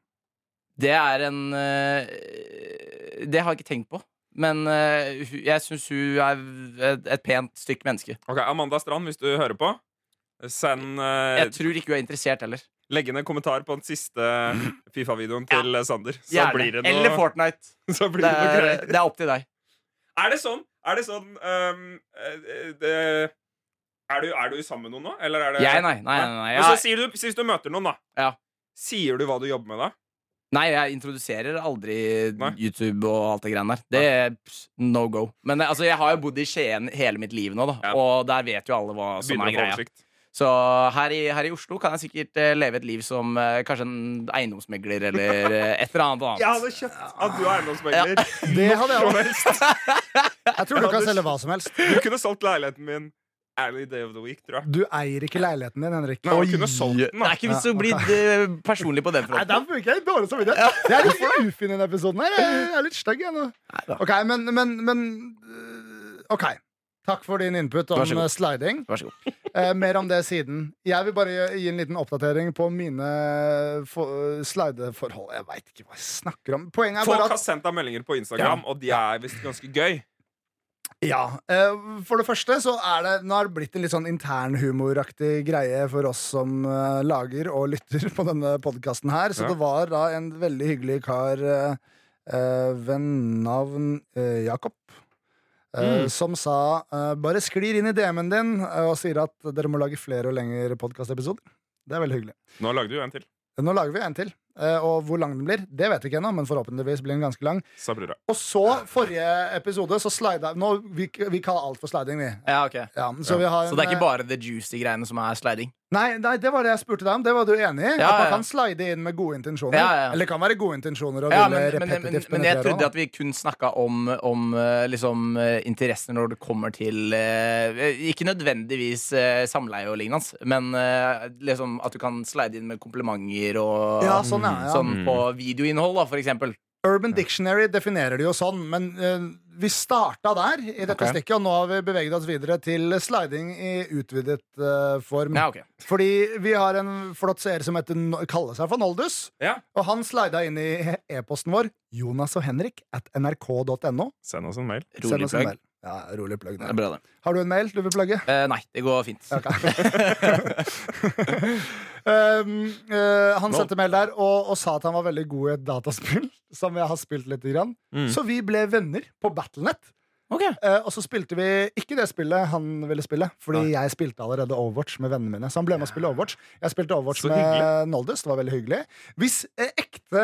[SPEAKER 3] Det er en eh, Det har jeg ikke tenkt på. Men eh, hu- jeg syns hun er et, et pent stykke menneske.
[SPEAKER 4] Ok, Amanda Strand, hvis du hører på, send eh,
[SPEAKER 3] Jeg tror ikke hun er interessert heller.
[SPEAKER 4] Legg inn en kommentar på den siste Fifa-videoen til eh, Sander. Så
[SPEAKER 3] Gjerne.
[SPEAKER 4] blir det noe,
[SPEAKER 3] Eller Fortnite.
[SPEAKER 4] så [LAUGHS] blir
[SPEAKER 3] Det
[SPEAKER 4] det noe
[SPEAKER 3] er,
[SPEAKER 4] greier.
[SPEAKER 3] det er opp til deg.
[SPEAKER 4] Er det sånn Er det sånn ehm, eh, det, er, du, er du sammen med noen nå? Eller er det
[SPEAKER 3] Jeg, nei. Nei, nei, nei.
[SPEAKER 4] Men så
[SPEAKER 3] Jeg,
[SPEAKER 4] sier du, hvis du møter noen, da.
[SPEAKER 3] Ja.
[SPEAKER 4] Sier du hva du jobber med da?
[SPEAKER 3] nei, jeg introduserer aldri
[SPEAKER 4] Nei.
[SPEAKER 3] YouTube og alt det greiene der. Det er pss, no go. Men eh, altså, jeg har jo bodd i Skien hele mitt liv nå, da.
[SPEAKER 4] Ja.
[SPEAKER 3] Og der vet jo alle hva som er
[SPEAKER 4] Begynner å få
[SPEAKER 3] greia.
[SPEAKER 4] oversikt.
[SPEAKER 3] Så her i, her i Oslo kan jeg sikkert eh, leve et liv som eh, kanskje en eiendomsmegler
[SPEAKER 4] [LAUGHS]
[SPEAKER 3] eller eh, et eller annet annet.
[SPEAKER 4] Jeg hadde kjøpt at du er eiendomsmegler.
[SPEAKER 2] Det hadde jeg
[SPEAKER 4] Som
[SPEAKER 2] også.
[SPEAKER 4] helst.
[SPEAKER 2] Jeg tror du kan selge hva som helst.
[SPEAKER 4] Du kunne solgt leiligheten min any day of the week, tror jeg.
[SPEAKER 2] Du eier ikke leiligheten din, Henrik.
[SPEAKER 4] Nei, du kunne solgt den,
[SPEAKER 3] Det
[SPEAKER 4] da.
[SPEAKER 3] er ikke vits å bli eh, personlig på den fronten.
[SPEAKER 2] der bruker jeg dårlig samvittighet. Det er litt ufin i denne episoden. her Jeg er litt stygg, jeg nå.
[SPEAKER 3] da.
[SPEAKER 2] Ok, men, men, men øh, OK. Takk for din input om
[SPEAKER 3] Vær så god.
[SPEAKER 2] øh, sliding.
[SPEAKER 3] Vær så god.
[SPEAKER 2] Eh, mer om det siden. Jeg vil bare gi- gi en liten oppdatering på mine for, slideforhold. Jeg veit ikke hva jeg snakker om. Poenget er
[SPEAKER 4] Folk
[SPEAKER 2] bare
[SPEAKER 4] har
[SPEAKER 2] at
[SPEAKER 4] sendt deg meldinger på Instagram, og de er visst ganske gøy.
[SPEAKER 2] ja, eh, For det første så er det Nå har det blitt en litt sånn internhumoraktig greie for oss som eh, lager og lytter på denne podkasten her. Så
[SPEAKER 4] Ja.
[SPEAKER 2] det var da en veldig hyggelig kar eh, eh, ved navn eh, Jakob. eh, Som sa eh, bare sklir inn i DM-en din eh, og sier at dere må lage flere og lengre podkastepisoder. Det er veldig hyggelig.
[SPEAKER 4] Nå lagde du en til,
[SPEAKER 2] Nå lager vi en til. eh, Og hvor lang den blir, det vet vi ikke ennå, men forhåpentligvis blir den ganske lang.
[SPEAKER 4] sa brura.
[SPEAKER 2] Og så, forrige episode, så slida Nå, vi, vi kaller alt for sliding, vi.
[SPEAKER 3] Ja, ok
[SPEAKER 2] Ja, så, vi har
[SPEAKER 3] Så det er
[SPEAKER 2] en, eh,
[SPEAKER 3] ikke bare the juicy greiene som er sliding?
[SPEAKER 2] Nei, nei, det var det jeg spurte deg om. Det var du enig i?
[SPEAKER 3] Ja,
[SPEAKER 2] at man
[SPEAKER 3] ja.
[SPEAKER 2] kan slide inn med gode intensjoner.
[SPEAKER 3] Ja, ja.
[SPEAKER 2] Eller det kan være gode intensjoner og
[SPEAKER 3] Ja,
[SPEAKER 2] ville
[SPEAKER 3] men, men, men,
[SPEAKER 2] repetitivt
[SPEAKER 3] men jeg
[SPEAKER 2] penetrere,
[SPEAKER 3] trodde
[SPEAKER 2] da.
[SPEAKER 3] at vi kun snakka om, om eh, liksom, eh, interesser når det kommer til eh, Ikke nødvendigvis eh, samleie og lignende, men eh, liksom at du kan slide inn med komplimenter og
[SPEAKER 2] Ja, sånn, ja, ja.
[SPEAKER 3] sånn på videoinnhold, da, for eksempel.
[SPEAKER 2] Urban Dictionary definerer det jo sånn, men eh, vi starta der i dette
[SPEAKER 3] Ok.
[SPEAKER 2] stikket, og nå har vi beveget oss videre til sliding i utvidet eh, form.
[SPEAKER 3] Ja, ok
[SPEAKER 2] Fordi vi har en flott seer som heter, No- kaller seg for Noldus.
[SPEAKER 4] Ja.
[SPEAKER 2] Og han slida inn i [LAUGHS] e-posten vår Jonas og Henrik at nrk.no.
[SPEAKER 4] Send oss en mail.
[SPEAKER 3] Rolig plugg.
[SPEAKER 2] Ja, rolig plugg
[SPEAKER 3] Det er
[SPEAKER 2] der.
[SPEAKER 3] bra, det.
[SPEAKER 2] Har du en mail du vil plugge? [LAUGHS]
[SPEAKER 3] Eh, nei, det går fint.
[SPEAKER 2] Ok. um, eh, han
[SPEAKER 4] Nå.
[SPEAKER 2] sendte mail der og, og sa at han var veldig god i et dataspill. [LAUGHS] Som jeg har spilt litt grann.
[SPEAKER 4] Mm.
[SPEAKER 2] Så vi ble venner på Battlenet.
[SPEAKER 3] Ok.
[SPEAKER 2] Eh, og så spilte vi ikke det spillet han ville spille, fordi
[SPEAKER 4] Nei.
[SPEAKER 2] jeg spilte allerede Overwatch med vennene mine. Så han ble med å spille Overwatch. Jeg spilte Overwatch
[SPEAKER 4] Så
[SPEAKER 2] med
[SPEAKER 4] hyggelig.
[SPEAKER 2] Noldus. Det var veldig hyggelig. Hvis eh, ekte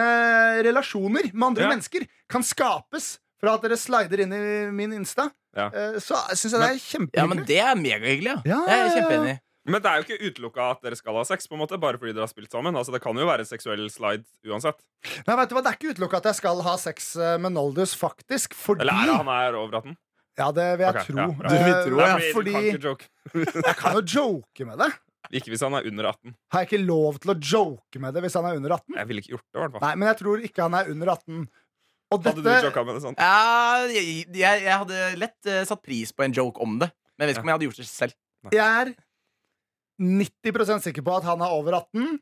[SPEAKER 2] relasjoner med andre
[SPEAKER 4] Ja.
[SPEAKER 2] mennesker kan skapes fra at dere slider inn i min Insta,
[SPEAKER 4] Ja.
[SPEAKER 2] eh, så syns jeg det er
[SPEAKER 3] Ja, men
[SPEAKER 2] kjempehyggelig.
[SPEAKER 3] det er megahyggelig. Ja.
[SPEAKER 2] Ja,
[SPEAKER 3] Jeg er
[SPEAKER 2] ja, ja.
[SPEAKER 3] kjempeenig.
[SPEAKER 4] Men det er jo ikke utelukka at dere skal ha sex, på en måte bare fordi dere har spilt sammen. Altså, Det kan jo være seksuell slide uansett.
[SPEAKER 2] Nei, vet du hva, Det er ikke utelukka at jeg skal ha sex eh, med Noldus, faktisk, fordi
[SPEAKER 4] Eller er det han er over 18?
[SPEAKER 2] Ja, det vil jeg
[SPEAKER 4] Ok,
[SPEAKER 2] tro.
[SPEAKER 4] ja,
[SPEAKER 2] Eh,
[SPEAKER 4] bra.
[SPEAKER 3] Du vil tro,
[SPEAKER 4] Nei,
[SPEAKER 3] ja,
[SPEAKER 2] fordi
[SPEAKER 4] fordi... du kan ikke, joke.
[SPEAKER 2] jeg kan jo joke med det.
[SPEAKER 4] ikke hvis han er under 18.
[SPEAKER 2] Har jeg ikke lov til å joke med det hvis han er under 18?
[SPEAKER 4] Jeg ville ikke gjort det, i hvert fall.
[SPEAKER 2] Nei, men jeg tror ikke han er under 18. Og
[SPEAKER 4] Hadde du
[SPEAKER 2] dette
[SPEAKER 4] joka med det sånn?
[SPEAKER 3] Ja, jeg, jeg, jeg hadde lett eh, satt pris på en joke om det. Men jeg vet ikke om jeg hadde gjort det selv.
[SPEAKER 2] Jeg er 90 sikker på at han er over 18.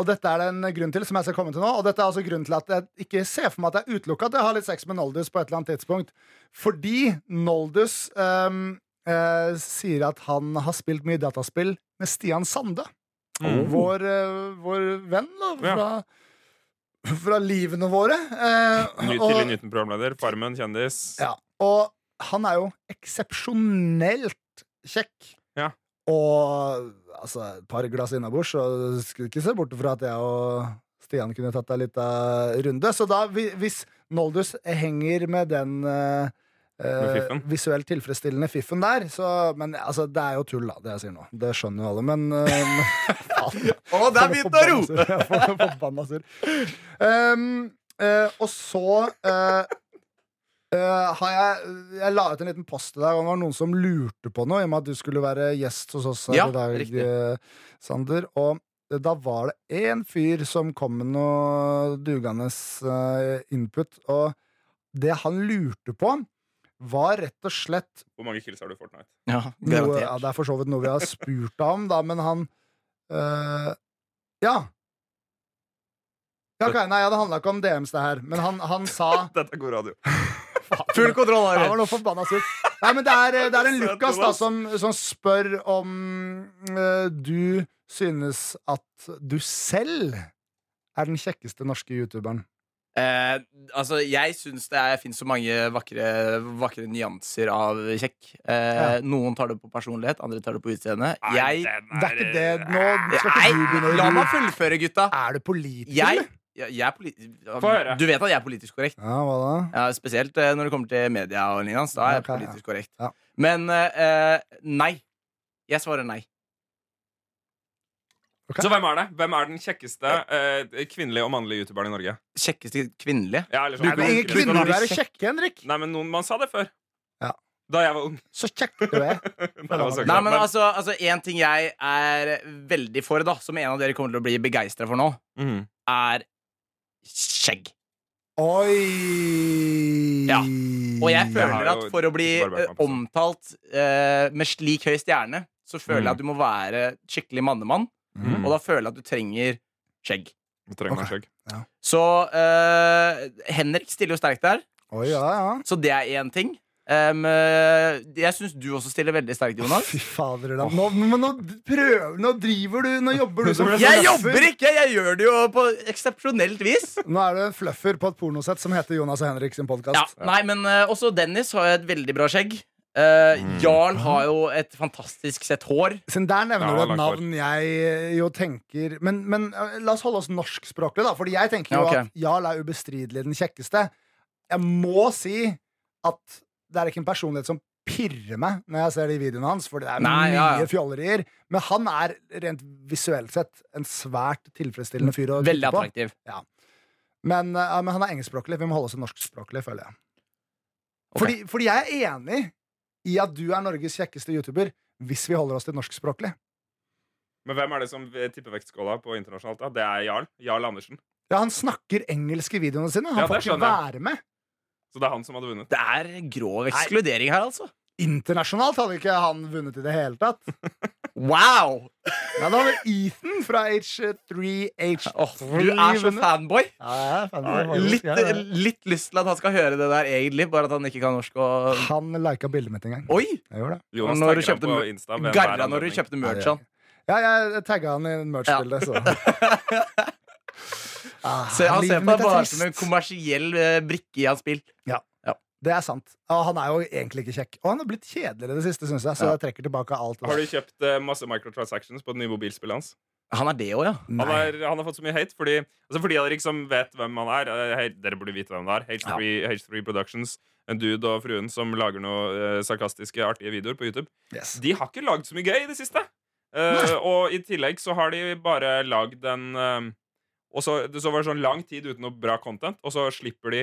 [SPEAKER 2] Og dette er det en grunn til, som jeg skal komme til nå. Og dette er altså grunnen til at jeg ikke ser for meg at jeg er utelukka at jeg har litt sex med Noldus på et eller annet tidspunkt. Fordi Noldus øhm, øh, sier at han har spilt mye dataspill med Stian Sande.
[SPEAKER 4] Mm.
[SPEAKER 2] Vår, øh, vår venn, da.
[SPEAKER 4] Ja.
[SPEAKER 2] Fra, fra livene våre. Eh,
[SPEAKER 4] Ny,
[SPEAKER 2] og-
[SPEAKER 4] tidlig Newton-programleder. Farmen, kjendis.
[SPEAKER 2] ja, og han er jo eksepsjonelt kjekk.
[SPEAKER 4] Ja.
[SPEAKER 2] Og altså, et par glass innabords, så skulle du ikke se bort fra at jeg og Stian kunne tatt deg litt av runde. Så da, vi- hvis Noldus henger med den eh, eh,
[SPEAKER 4] fiffen.
[SPEAKER 2] visuelt tilfredsstillende fiffen der, så Men altså, det er jo tull, da, det jeg sier nå. Det skjønner jo alle, men eh, [LAUGHS] faen.
[SPEAKER 3] Å, der begynte å rope!
[SPEAKER 2] [LAUGHS] Jeg får Forbanna sur. Ehm, eh, og så eh, eh, har jeg Jeg la ut en liten post til deg, og det var noen som lurte på noe, i og med at du skulle være gjest hos oss her
[SPEAKER 3] Ja,
[SPEAKER 2] i dag,
[SPEAKER 3] riktig.
[SPEAKER 2] eh, Sander. Og eh, da var det én fyr som kom med noe dugende eh, input, og det han lurte på, var rett og slett
[SPEAKER 4] Hvor mange kills har du i Fortnite?
[SPEAKER 3] Ja,
[SPEAKER 2] noe, ja,
[SPEAKER 3] garantert.
[SPEAKER 2] det er for så vidt noe vi har spurt deg om, da, men han øh, Ja. Ja, ok, nei, ja, Det handla ikke om DMs, det her, men han, han sa
[SPEAKER 3] [LAUGHS]
[SPEAKER 4] [LAUGHS] Dette er god radio.
[SPEAKER 3] Full kontroll,
[SPEAKER 2] Det
[SPEAKER 3] Arild.
[SPEAKER 2] var noe forbanna surt. Nei, men det er, øh, det er en
[SPEAKER 4] Søt,
[SPEAKER 2] Lukas da
[SPEAKER 4] Thomas.
[SPEAKER 2] som, som spør om øh, du synes at du selv er den kjekkeste norske youtuberen.
[SPEAKER 3] Eh, altså, jeg syns det er- finnes så mange vakre, vakre nyanser av kjekk. Eh, Noen tar det på personlighet, andre tar det på utseende. Jeg
[SPEAKER 2] Det er ikke det nå skal ikke du
[SPEAKER 3] Nei,
[SPEAKER 2] begynne å
[SPEAKER 3] la meg
[SPEAKER 2] lure.
[SPEAKER 3] føre, gutta.
[SPEAKER 2] Er du politiker?
[SPEAKER 3] Jeg,
[SPEAKER 2] eller?
[SPEAKER 3] jeg, jeg er politi
[SPEAKER 4] Få høre.
[SPEAKER 3] Du vet at jeg er politisk korrekt.
[SPEAKER 2] Ja, hva da?
[SPEAKER 3] Ja, spesielt eh, når det kommer til media og lignende. Da er jeg
[SPEAKER 2] Ok, ja.
[SPEAKER 3] politisk korrekt.
[SPEAKER 2] Ja.
[SPEAKER 3] Men eh, nei. Jeg svarer nei.
[SPEAKER 2] Ok.
[SPEAKER 4] Så hvem er det? Hvem er den kjekkeste eh, kvinnelige og mannlige youtuberen i Norge?
[SPEAKER 3] Kjekkeste kvinnelige.
[SPEAKER 4] Ja, eller
[SPEAKER 3] Du
[SPEAKER 4] sånn- Nei,
[SPEAKER 3] kan-
[SPEAKER 4] noen-
[SPEAKER 2] Ingen kvinner vil være kjekke, Henrik.
[SPEAKER 4] Nei, men noen, Man sa det før.
[SPEAKER 2] Ja.
[SPEAKER 4] Da jeg var ung. [LAUGHS]
[SPEAKER 2] Så kjekk du er.
[SPEAKER 4] Nei, det var så
[SPEAKER 3] Nei,
[SPEAKER 4] greit,
[SPEAKER 3] men altså, altså En ting jeg er veldig for, da som en av dere kommer til å bli begeistra for nå,
[SPEAKER 4] Mhm.
[SPEAKER 3] er skjegg.
[SPEAKER 2] Oi!
[SPEAKER 3] Ja. Og jeg
[SPEAKER 4] Jeg Mm, har
[SPEAKER 3] føler at
[SPEAKER 4] jo
[SPEAKER 3] for å bli
[SPEAKER 4] barbert
[SPEAKER 3] eh,
[SPEAKER 4] meg på sånn.
[SPEAKER 3] omtalt eh, med slik høy stjerne, så føler jeg
[SPEAKER 4] Mm.
[SPEAKER 3] at du må være skikkelig mannemann,
[SPEAKER 4] Mm.
[SPEAKER 3] og da føler jeg at du trenger skjegg.
[SPEAKER 4] Jeg trenger meg
[SPEAKER 2] Ok.
[SPEAKER 4] skjegg.
[SPEAKER 3] Så eh, Henrik stiller jo sterkt der,
[SPEAKER 2] Oi, ja, ja.
[SPEAKER 3] så det er én ting. Em, eh, jeg syns du også stiller veldig sterkt, Jonas.
[SPEAKER 2] Fy fader, da. Nå, men nå prøver Nå driver du Nå jobber du som
[SPEAKER 4] Jeg
[SPEAKER 3] Jeg
[SPEAKER 2] fluffer.
[SPEAKER 3] jobber ikke! Jeg gjør det jo på eksepsjonelt vis.
[SPEAKER 2] Nå er du en fluffer på et pornosett som heter Jonas og Henrik sin podkast.
[SPEAKER 3] Ja, nei, men eh, også Dennis har jo et veldig bra skjegg. Eh,
[SPEAKER 4] Mm.
[SPEAKER 3] Jarl har jo et fantastisk sett hår.
[SPEAKER 2] Siden der nevner
[SPEAKER 4] Ja,
[SPEAKER 2] du et
[SPEAKER 4] langt hår.
[SPEAKER 2] navn jeg eh, jo tenker Men, men eh, la oss holde oss norskspråklig, da. Fordi jeg tenker jo
[SPEAKER 3] Ja, ok.
[SPEAKER 2] at Jarl er ubestridelig den kjekkeste. Jeg må si at det er ikke en personlighet som pirrer meg når jeg ser de videoene hans, for det er
[SPEAKER 3] Nei,
[SPEAKER 2] mye
[SPEAKER 3] ja, ja.
[SPEAKER 2] fjollerier. Men han er rent visuelt sett en svært tilfredsstillende fyr å
[SPEAKER 3] Veldig
[SPEAKER 2] titte på.
[SPEAKER 3] attraktiv.
[SPEAKER 2] Men, eh, ja, men han er engelskspråklig. Vi må holde oss til norskspråklig, føler jeg.
[SPEAKER 3] Ok.
[SPEAKER 2] Fordi, fordi jeg er enig i at du er Norges kjekkeste YouTuber hvis vi holder oss til norskspråklig.
[SPEAKER 4] Men hvem er det som eh, tipper vektskåla på internasjonalt? da? Det er Jarl. Jarl Andersen.
[SPEAKER 2] Ja, han snakker engelsk i videoene sine. Han
[SPEAKER 4] Ja,
[SPEAKER 2] får
[SPEAKER 4] det
[SPEAKER 2] ikke
[SPEAKER 4] skjønner
[SPEAKER 2] være med.
[SPEAKER 4] Så det er han som hadde vunnet.
[SPEAKER 3] Det er grov ekskludering her, altså.
[SPEAKER 2] Internasjonalt hadde ikke han vunnet i det hele tatt.
[SPEAKER 3] Wow!
[SPEAKER 2] Ja, da hadde Ethan fra H3H3
[SPEAKER 3] Åh, du er så
[SPEAKER 2] vunnet.
[SPEAKER 3] fanboy.
[SPEAKER 2] Ja, jeg er fan av det.
[SPEAKER 3] Litt,
[SPEAKER 2] Ja, ja.
[SPEAKER 3] litt lyst til at han skal høre det der, egentlig. Bare at han ikke kan norsk og
[SPEAKER 2] Han lika bildet mitt en gang.
[SPEAKER 3] Oi!
[SPEAKER 2] Jeg gjorde det.
[SPEAKER 4] Jonas
[SPEAKER 3] Når du
[SPEAKER 4] tagger ham
[SPEAKER 3] kjøpte
[SPEAKER 4] på
[SPEAKER 3] mø-
[SPEAKER 4] Insta. ved hver
[SPEAKER 3] Garra når
[SPEAKER 4] anledning.
[SPEAKER 3] du kjøpte
[SPEAKER 2] Nei, det gjør
[SPEAKER 3] merchan.
[SPEAKER 2] Ja, jeg tagga han i merch-bildet,
[SPEAKER 3] [LAUGHS]
[SPEAKER 2] så. Ah,
[SPEAKER 3] Så han
[SPEAKER 2] livet
[SPEAKER 3] ser på
[SPEAKER 2] mitt
[SPEAKER 3] deg
[SPEAKER 2] er
[SPEAKER 3] bare
[SPEAKER 2] trist.
[SPEAKER 3] som en kommersiell eh, brikke i hans spill.
[SPEAKER 2] Det er sant. Og han er jo egentlig ikke kjekk. Og han har blitt kjedeligere i det siste, syns jeg. Så
[SPEAKER 3] Ja.
[SPEAKER 2] jeg trekker tilbake alt.
[SPEAKER 4] Har du kjøpt eh, masse microtransactions på det nye mobilspillet hans?
[SPEAKER 3] Han er det òg, ja.
[SPEAKER 4] Han,
[SPEAKER 2] Nei.
[SPEAKER 4] er, han har fått så mye hate fordi, altså fordi dere liksom vet hvem han er. eh, hei, Dere burde vite hvem det er. H3, H3 Productions, en dude og fruen som lager noen sarkastiske, artige videoer på YouTube.
[SPEAKER 2] Yes.
[SPEAKER 4] De har ikke lagd så mye gøy i det siste. Eh, og i tillegg så har de bare lagd en eh, Og så, det- så var det sånn lang tid uten noe bra content, og så slipper de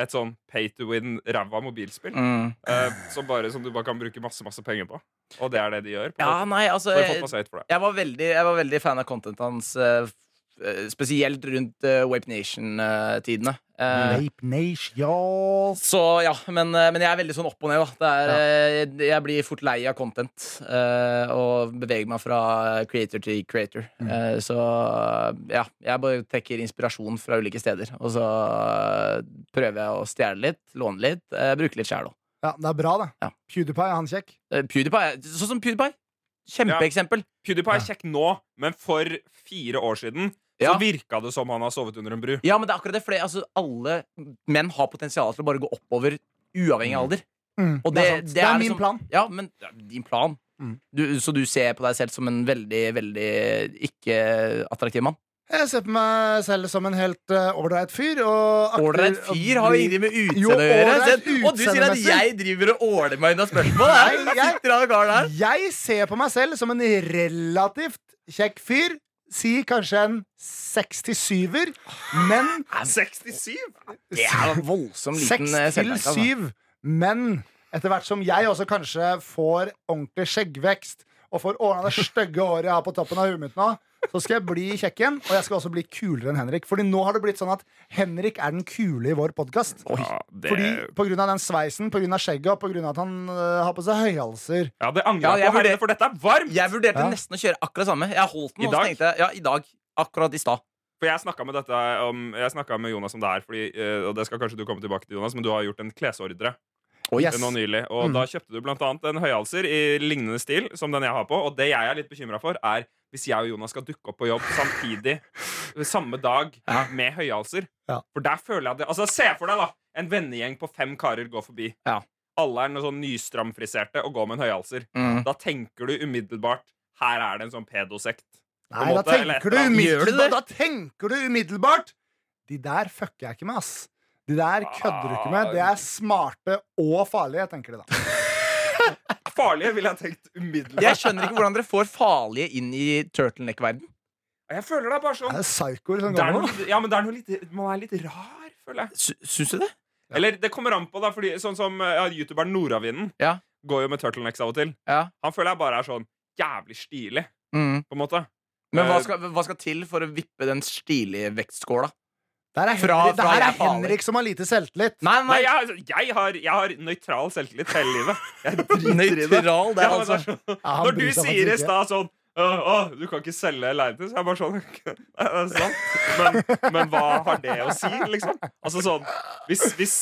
[SPEAKER 4] et sånn pay to win ræva mobilspill
[SPEAKER 3] Mm.
[SPEAKER 4] eh, som, bare, som du bare kan bruke masse masse penger på. Og det er det de gjør. På.
[SPEAKER 3] Ja, nei, altså
[SPEAKER 4] Så de har fått masse hate for det.
[SPEAKER 3] jeg var, veldig, jeg var veldig fan av contentet hans eh, eh, spesielt rundt eh, Wape Nation-tidene. Eh,
[SPEAKER 2] Rape Nation.
[SPEAKER 3] så ja, men, eh, men jeg er veldig sånn opp og ned, da. Det er, eh, Jeg blir fort lei av content eh, og beveger meg fra creator til creator. Eh, Så ja, jeg bare trekker inspirasjon fra ulike steder. Og så eh, prøver jeg å stjele litt, låne litt, eh, bruke litt sjæl òg.
[SPEAKER 2] Ja, det er bra, det.
[SPEAKER 3] Ja.
[SPEAKER 2] PewDiePie, er han kjekk?
[SPEAKER 3] PewDiePie, er- sånn som PewDiePie. Kjempeeksempel.
[SPEAKER 4] PewDiePie er kjekk nå, men for fire år siden så
[SPEAKER 3] Ja.
[SPEAKER 4] virka det som han har sovet under en bru.
[SPEAKER 3] Ja, men det er akkurat det, for det- altså, alle menn har potensial til å bare gå oppover uavhengig av alder.
[SPEAKER 2] Mm,
[SPEAKER 3] Og
[SPEAKER 2] det,
[SPEAKER 3] det-
[SPEAKER 2] er sant.
[SPEAKER 3] det
[SPEAKER 2] det
[SPEAKER 3] er
[SPEAKER 2] er min
[SPEAKER 3] liksom-
[SPEAKER 2] plan.
[SPEAKER 3] Ja, men det er din plan.
[SPEAKER 2] Mm.
[SPEAKER 3] Du, så du ser på deg selv som en veldig, veldig ikke-attraktiv mann?
[SPEAKER 2] Jeg ser på meg selv som en helt eh, ålreit fyr. og akter
[SPEAKER 3] Ålreit
[SPEAKER 2] å
[SPEAKER 3] fyr har jo
[SPEAKER 2] bli-
[SPEAKER 3] ingenting med utseende
[SPEAKER 2] Jo,
[SPEAKER 3] å gjøre.
[SPEAKER 2] ålreit
[SPEAKER 3] Se, Og du sier at
[SPEAKER 2] utseendemessig.
[SPEAKER 3] jeg driver og åler meg unna spørsmål? Nei,
[SPEAKER 2] Nei, jeg-
[SPEAKER 3] jeg sitter han karen der.
[SPEAKER 2] Jeg ser på meg selv som en relativt kjekk fyr. Si kanskje en 67-er, men
[SPEAKER 4] 67?
[SPEAKER 3] Ah, Det er en voldsom liten eh,
[SPEAKER 2] 6 til
[SPEAKER 3] selvtilliten, altså.
[SPEAKER 2] 7. Men etter hvert som jeg også kanskje får ordentlig skjeggvekst, og får ordna det stygge håret jeg har på toppen av huet mitt nå, så skal jeg bli kjekk igjen, og jeg skal også bli kulere enn Henrik. Fordi nå har det blitt sånn at Henrik er den kule i vår podkast.
[SPEAKER 4] Ja, det,
[SPEAKER 2] Fordi På grunn av den sveisen, på grunn av skjegget og på grunn av at han øh, har på seg høyhalser.
[SPEAKER 4] ja, det
[SPEAKER 3] Ja,
[SPEAKER 4] angrer jeg
[SPEAKER 3] jeg
[SPEAKER 4] på,
[SPEAKER 3] vurder-
[SPEAKER 4] herrene, for dette er varmt!
[SPEAKER 3] Jeg vurderte
[SPEAKER 2] Ja.
[SPEAKER 3] nesten å kjøre akkurat samme. Jeg holdt den,
[SPEAKER 4] I
[SPEAKER 3] og så
[SPEAKER 4] dag?
[SPEAKER 3] tenkte jeg ja, i dag. Akkurat i stad.
[SPEAKER 4] For jeg snakka med, dette om- jeg snakket med Jonas om det her, fordi, eh, og det skal kanskje du komme tilbake til, Jonas, men du har gjort en klesordre
[SPEAKER 2] Yes. Mm.
[SPEAKER 4] nå nylig. Og da kjøpte du blant annet en høyhalser i lignende stil som den jeg har på. Og det jeg er litt bekymra for, er hvis jeg og Jonas skal dukke opp på jobb samtidig [LAUGHS] samme dag
[SPEAKER 3] Ja.
[SPEAKER 4] med høyhalser.
[SPEAKER 2] Ja.
[SPEAKER 4] For der føler jeg det Altså, se for deg, da. En vennegjeng på fem karer går forbi.
[SPEAKER 3] Ja.
[SPEAKER 4] Alle er noe sånn nystramfriserte og går med en høyhalser.
[SPEAKER 3] Mm.
[SPEAKER 4] Da tenker du umiddelbart her er det en sånn pedosekt.
[SPEAKER 2] Nei,
[SPEAKER 4] på en
[SPEAKER 2] da
[SPEAKER 4] måte, eller et
[SPEAKER 2] tenker, du
[SPEAKER 4] eller annet.
[SPEAKER 3] Gjør du det?
[SPEAKER 2] umiddelbart, da tenker du umiddelbart De der fucker jeg ikke med, ass. De der kødder du ikke med. Det
[SPEAKER 4] Ah.
[SPEAKER 2] er smarte og farlige, tenker de da.
[SPEAKER 4] Farlige ville jeg tenkt umiddelbart.
[SPEAKER 3] Jeg skjønner ikke hvordan dere får farlige inn i turtleneck-verden.
[SPEAKER 4] Jeg føler det er bare sånn
[SPEAKER 2] Det er psykoer som
[SPEAKER 4] det er
[SPEAKER 2] går
[SPEAKER 4] noe,
[SPEAKER 2] nå.
[SPEAKER 4] litt- ja, men det er noe litt, man er litt rar, føler jeg.
[SPEAKER 3] Sy- Syns du det?
[SPEAKER 4] Eller det kommer an på, da. Fordi, sånn som eh, ja, youtuberen Nordavinden
[SPEAKER 3] Ja.
[SPEAKER 4] går jo med turtlenecks av og til.
[SPEAKER 3] Ja.
[SPEAKER 4] Han føler jeg bare er sånn jævlig stilig,
[SPEAKER 3] Mm.
[SPEAKER 4] på en måte.
[SPEAKER 3] Men hva
[SPEAKER 4] Eh,
[SPEAKER 3] skal, hva skal til for å vippe den stilige vektskåla?
[SPEAKER 2] Der er
[SPEAKER 3] Fra-
[SPEAKER 2] Henrik, det
[SPEAKER 3] fra
[SPEAKER 2] her
[SPEAKER 3] jeg
[SPEAKER 2] er
[SPEAKER 3] er farlig.
[SPEAKER 2] Henrik som har lite selvtillit.
[SPEAKER 3] Nei,
[SPEAKER 4] Nei, jeg, altså, jeg, har, jeg har nøytral selvtillit hele
[SPEAKER 2] [LAUGHS]
[SPEAKER 4] livet. Jeg driter i det.
[SPEAKER 3] Nøytral, det
[SPEAKER 4] [LAUGHS]
[SPEAKER 3] er
[SPEAKER 4] Ja, men det
[SPEAKER 3] altså
[SPEAKER 4] er sånn-
[SPEAKER 2] Ja, han
[SPEAKER 4] Når du
[SPEAKER 2] bryr seg
[SPEAKER 4] sier i
[SPEAKER 2] faktisk ikke.
[SPEAKER 4] stad sånn «Åh, åh, du kan ikke selge leiligheten. Så jeg er bare sånn [LAUGHS] «Nei, Det er sant. Men, men hva har det å si, liksom? Altså sånn Hvis, hvis